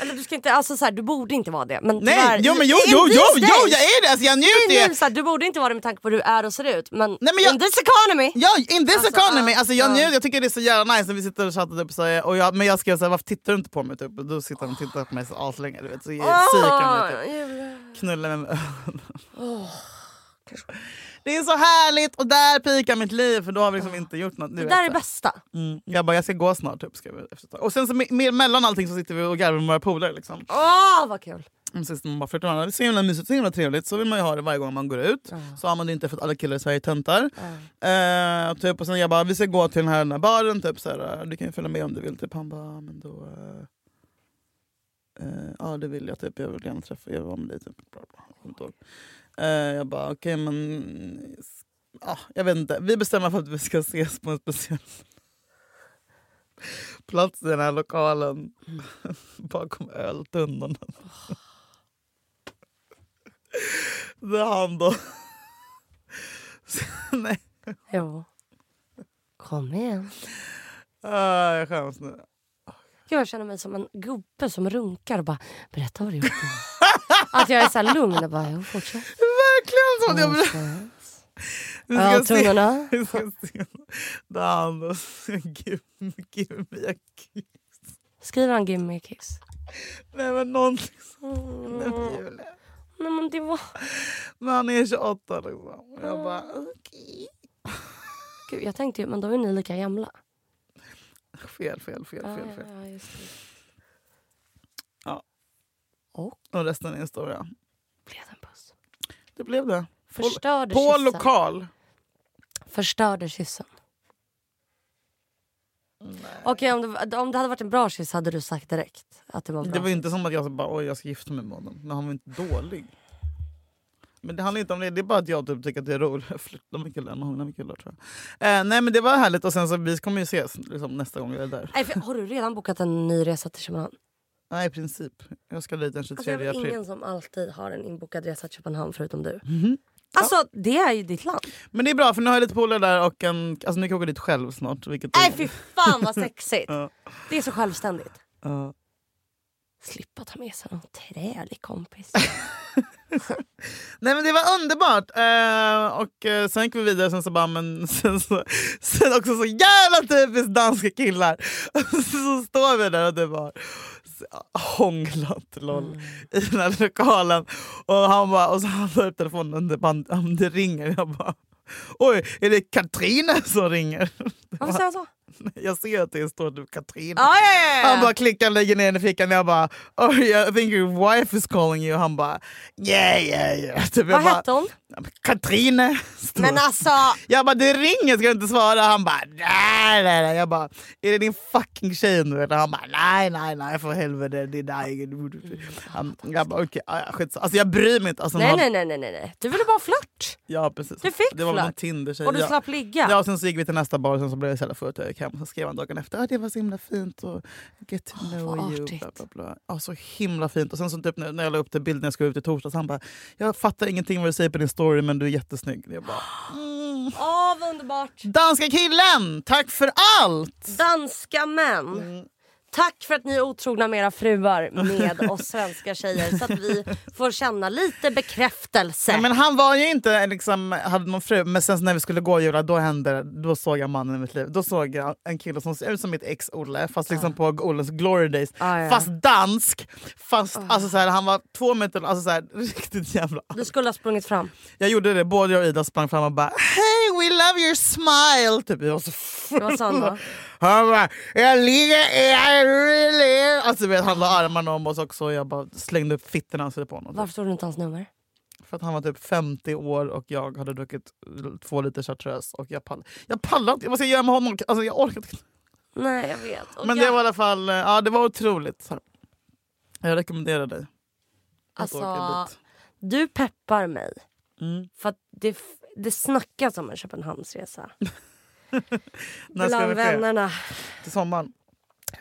Speaker 1: Eller du ska inte, alltså så här, du borde inte vara det. Men tyvärr,
Speaker 2: Nej, jo
Speaker 1: i-
Speaker 2: men jo,
Speaker 1: in
Speaker 2: jo,
Speaker 1: these
Speaker 2: jo,
Speaker 1: days-
Speaker 2: jo, jag är det! Alltså, jag
Speaker 1: in
Speaker 2: njuter!
Speaker 1: these- så här, du borde inte vara det med tanke på hur du är och ser ut. Men,
Speaker 2: Nej, men jag-
Speaker 1: in this economy!
Speaker 2: Ja, in this
Speaker 1: Alltså,
Speaker 2: economy!
Speaker 1: ja,
Speaker 2: alltså, jag,
Speaker 1: ja.
Speaker 2: njuter, jag tycker det är så jävla nice när vi sitter och chattar typ, så här, och jag, men jag skrev såhär, varför tittar du inte på mig? Typ. Och då sitter han och tittar på mig så aslänge. Du vet, så
Speaker 1: Åh,
Speaker 2: psykar mig, typ.
Speaker 1: jävlar.
Speaker 2: Knullar mig med ögonen. Det är så härligt och där pikar mitt liv för då har vi liksom inte gjort något. Du
Speaker 1: Det
Speaker 2: vet,
Speaker 1: där
Speaker 2: så
Speaker 1: är
Speaker 2: här.
Speaker 1: bästa.
Speaker 2: Mm. Jag bara, jag ska gå snart. Typ, skrev jag efter ett tag. Och sen så me- me- mellan allting så sitter vi och garvar med våra polare. Liksom.
Speaker 1: Åh vad kul!
Speaker 2: Mm, så man bara flörtar med varandra. Det är så himla mysigt, så himla trevligt. Så vill man ju ha det varje gång man går ut. Så har man det inte för att alla killar i Sverige är töntar. Eh, typ, och sen jag bara, vi ska gå till den här, den här baren. Typ, så här, du kan ju följa med om du vill. Typ. Han bara, men då... eh, eh, ja det vill jag. Typ. Jag vill gärna träffa jag vill vara med dig. Typ. Bla, bla, jag kommer inte ihåg. Eh, jag bara, okej men... ja jag vet inte. Vi bestämmer för att vi ska ses på en speciell plats i den här lokalen. Bakom öltunnorna. Där han då... Nej,
Speaker 1: Jo. Kom igen.
Speaker 2: uh, jag skäms nu.
Speaker 1: Gud, jag känner mig som en gubbe som runkar och bara berätta vad du gjort. att jag är så här lugn och bara jo, fortsätt.
Speaker 2: Verkligen som att jag blir...
Speaker 1: Fortsätt.
Speaker 2: Vi
Speaker 1: Ja,
Speaker 2: ska se.
Speaker 1: tunnorna.
Speaker 2: Mm. Vi ska se. Där han då... Gud, gud, jag gud.
Speaker 1: Skriver han give me a kiss?
Speaker 2: Nej men någonting sånt. Nej, men Julia.
Speaker 1: Nej men det var...
Speaker 2: Men han är 28 liksom. Jag bara okej.
Speaker 1: Gud, jag tänkte ju, men då är ni lika gamla.
Speaker 2: Fel, fel, fel, fel. fel.
Speaker 1: Ja, just det.
Speaker 2: Och resten är historia.
Speaker 1: Blev det en puss?
Speaker 2: Det blev det. På,
Speaker 1: Förstörde
Speaker 2: på
Speaker 1: kyssen.
Speaker 2: lokal.
Speaker 1: Förstörde kyssen. Okej, om, det, om det hade varit en bra kyss hade du sagt direkt att det var en bra.
Speaker 2: Det var ju inte som att jag bara oj jag ska gifta mig med honom. Men han var inte dålig. Men det handlar inte om det. Det är bara att jag typ tycker att det är roligt. Jag flörtar med killar. Jag hånglar med killar tror jag. Eh, nej men det var härligt. Och sen så vi kommer ju ses liksom, nästa gång jag är där.
Speaker 1: Nej, för, har du redan bokat en ny resa till Köpenhamn?
Speaker 2: Nej i princip. Jag ska dit den 23
Speaker 1: Alltså, jag vet
Speaker 2: april.
Speaker 1: ingen som alltid har en inbokad resa till Köpenhamn förutom du.
Speaker 2: Mhm.
Speaker 1: Alltså det är ju ditt land.
Speaker 2: Men det är bra för nu har jag lite polare där och en, alltså, nu kan jag åka dit själv snart. Vilket är-
Speaker 1: Nej fy fan vad sexigt.
Speaker 2: Ja.
Speaker 1: Det är så självständigt.
Speaker 2: Ja.
Speaker 1: Slippa ta med sig någon trälig kompis.
Speaker 2: Nej men det var underbart! Eh, och eh, sen gick vi vidare sen så bara, men sen, så, sen också så jävla typiskt danska killar. så står vi där och det var hånglat lol,
Speaker 1: Mm.
Speaker 2: i den här lokalen. Och han bara, och så han tar upp telefonen och det, bara, han- det ringer. Jag bara, oj är det Katrine som ringer?
Speaker 1: Varför säger jag så?
Speaker 2: Jag ser att det står du Katrin.
Speaker 1: Ja, ja, ja, ja.
Speaker 2: Han bara klickar, lägger ner den i fickan. Jag bara, oh, yeah, I think your wife is calling you. Han bara, yeah yeah yeah. Typ, jag
Speaker 1: Vad
Speaker 2: bara,
Speaker 1: hette hon?
Speaker 2: Katrine.
Speaker 1: Men alltså,
Speaker 2: Jag bara, det ringer, ska du inte svara? Han bara, nej, nej, nej. Jag bara, är det din fucking tjej nu? eller? Han bara, nej, nej, nej, för helvete. Det är där ingen... Han, jag bara, okej, okay, skitsamma. Alltså jag bryr mig inte. Alltså,
Speaker 1: nej,
Speaker 2: han-
Speaker 1: nej, nej, nej, nej, nej. Du ville bara ha flört.
Speaker 2: Ja, precis.
Speaker 1: Du fick
Speaker 2: det var väl någon
Speaker 1: flört.
Speaker 2: Tinder-tjej.
Speaker 1: Och du
Speaker 2: ja.
Speaker 1: slapp ligga.
Speaker 2: Ja, och sen så gick vi till nästa bar och sen så blev jag så jävla full att jag gick hem. Sen skrev han dagen efter, ah, det var så himla fint och get to know
Speaker 1: vad
Speaker 2: you.
Speaker 1: artigt.
Speaker 2: Bla, bla, bla. Ja, så himla fint. Och sen så typ när när jag la upp den bilden när jag skulle ut i torsdags, han bara, jag fattar ingenting vad du säger på din story men du är jättesnygg. Jag bara, mm.
Speaker 1: Åh, vad underbart.
Speaker 2: Danska killen, tack för allt!
Speaker 1: Danska män.
Speaker 2: Mm.
Speaker 1: Tack för att ni är otrogna med era fruar med oss svenska tjejer så att vi får känna lite bekräftelse.
Speaker 2: Nej, men han var ju inte, liksom, hade någon fru, men sen så när vi skulle gå och göra, då hände det. Då såg jag mannen i mitt liv. Då såg jag en kille som ser ut som mitt ex Olle, fast liksom på Olles glory days.
Speaker 1: Ah, ja. Ah.
Speaker 2: Fast dansk, fast alltså, så här, han var två meter alltså, så här, riktigt jävla...
Speaker 1: Du skulle ha sprungit fram.
Speaker 2: Jag gjorde det, både jag och Ida sprang fram och bara Hey we love your smile! Typ, jag var så full.
Speaker 1: Vad sa han då?
Speaker 2: Han bara, jag ligger, I really... Alltså, du vet, han la armarna om oss också och jag bara slängde upp fittorna och satte på honom.
Speaker 1: Varför tog du inte hans nummer?
Speaker 2: För att han var typ 50 år och jag hade druckit l- två liter chartreuse. Och jag pallar jag pallar inte, vad ska jag göra med honom? Alltså, jag orkar inte.
Speaker 1: Nej, jag vet. Och
Speaker 2: Men
Speaker 1: jag,
Speaker 2: det var i alla fall eh, ja, det var otroligt. Så här. Jag rekommenderar dig. att åka
Speaker 1: alltså,
Speaker 2: dit.
Speaker 1: du peppar mig.
Speaker 2: Mm.
Speaker 1: För att det, f- det snackas om en Köpenhamnsresa.
Speaker 2: När ska
Speaker 1: Bland
Speaker 2: det ske?
Speaker 1: vännerna.
Speaker 2: Till sommaren?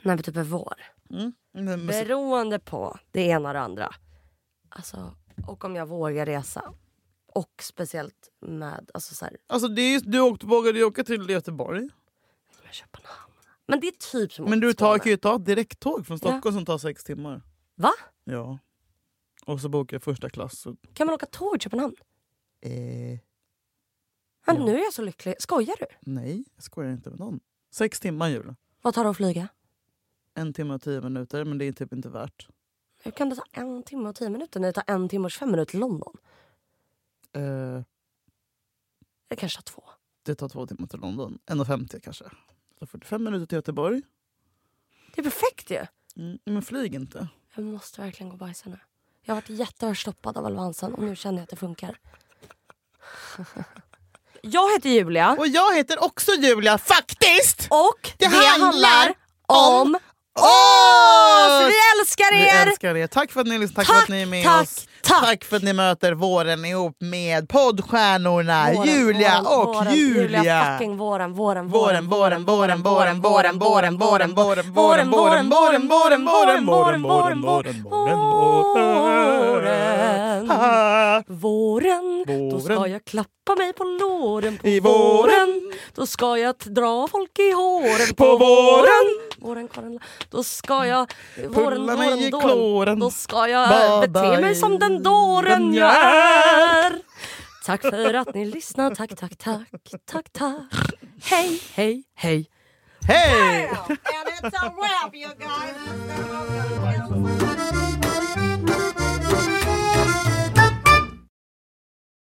Speaker 1: När vi typ är vår.
Speaker 2: Mm, musik-
Speaker 1: Beroende på det ena och det andra. Alltså, och om jag vågar resa. Och speciellt med... Alltså så här,
Speaker 2: Alltså, det är just, du åkte, vågade ju åka till Göteborg.
Speaker 1: med Köpenhamn. Men det är typ som
Speaker 2: Men du
Speaker 1: åker
Speaker 2: tar,
Speaker 1: Skåne.
Speaker 2: kan ju ta ett direkttåg från Stockholm som tar sex timmar.
Speaker 1: Va?
Speaker 2: Ja. Och så bokar jag första klass. Så,
Speaker 1: Kan man åka tåg i Köpenhamn?
Speaker 2: eh,
Speaker 1: Men Nu är jag så lycklig. Skojar du?
Speaker 2: nej, jag skojar inte med någon. Sex timmar, Julia.
Speaker 1: Vad tar det att flyga?
Speaker 2: En timme och tio minuter, men det är typ inte värt.
Speaker 1: Hur kan det ta en timme och tio minuter när det tar en timme och 25 minuter till London?
Speaker 2: Eh,
Speaker 1: Det kanske tar två.
Speaker 2: det tar två timmar till London. 1,50 kanske. Så 45 minuter till Göteborg.
Speaker 1: Det är perfekt ju.
Speaker 2: Mm, men flyg inte.
Speaker 1: Jag måste verkligen gå och bajsa nu. Jag har varit jätteörstoppad av Alvansen och nu känner jag att det funkar. jag heter Julia
Speaker 2: Och jag heter också Julia, faktiskt!
Speaker 1: och det, handlar om...
Speaker 2: oss!
Speaker 1: Så vi älskar
Speaker 2: Vi
Speaker 1: er!
Speaker 2: älskar er. Tack för att ni lyssnar. Tack,
Speaker 1: Tack,
Speaker 2: för att ni är med
Speaker 1: tack,
Speaker 2: oss.
Speaker 1: tack.
Speaker 2: för att ni möter våren ihop med poddstjärnorna
Speaker 1: Våren,
Speaker 2: Julia
Speaker 1: våren,
Speaker 2: och
Speaker 1: våren,
Speaker 2: Julia.
Speaker 1: Julia fucking våren, våren,
Speaker 2: Våren, våren, våren, våren, våren, våren, våren, våren, våren, våren, våren, våren, våren, våren, våren, våren, våren, våren. Ah.
Speaker 1: Våren, då ska
Speaker 2: Våren.
Speaker 1: jag klappa mig på låren på
Speaker 2: I
Speaker 1: våren.
Speaker 2: våren.
Speaker 1: Då ska jag t- dra folk i håren på
Speaker 2: På
Speaker 1: våren.
Speaker 2: våren.
Speaker 1: Våren, Karin. Då ska jag våren,
Speaker 2: mig
Speaker 1: våren,
Speaker 2: i
Speaker 1: dåren.
Speaker 2: kloren.
Speaker 1: Då ska jag
Speaker 2: Bada
Speaker 1: bete mig
Speaker 2: i
Speaker 1: som den dåren
Speaker 2: den
Speaker 1: jag
Speaker 2: jag
Speaker 1: är. Tack för att ni lyssnar. Tack, tack, tack, tack, tack. Hej, hej, hej.
Speaker 2: Hej!
Speaker 3: and it's a wrap, you guys. It's a-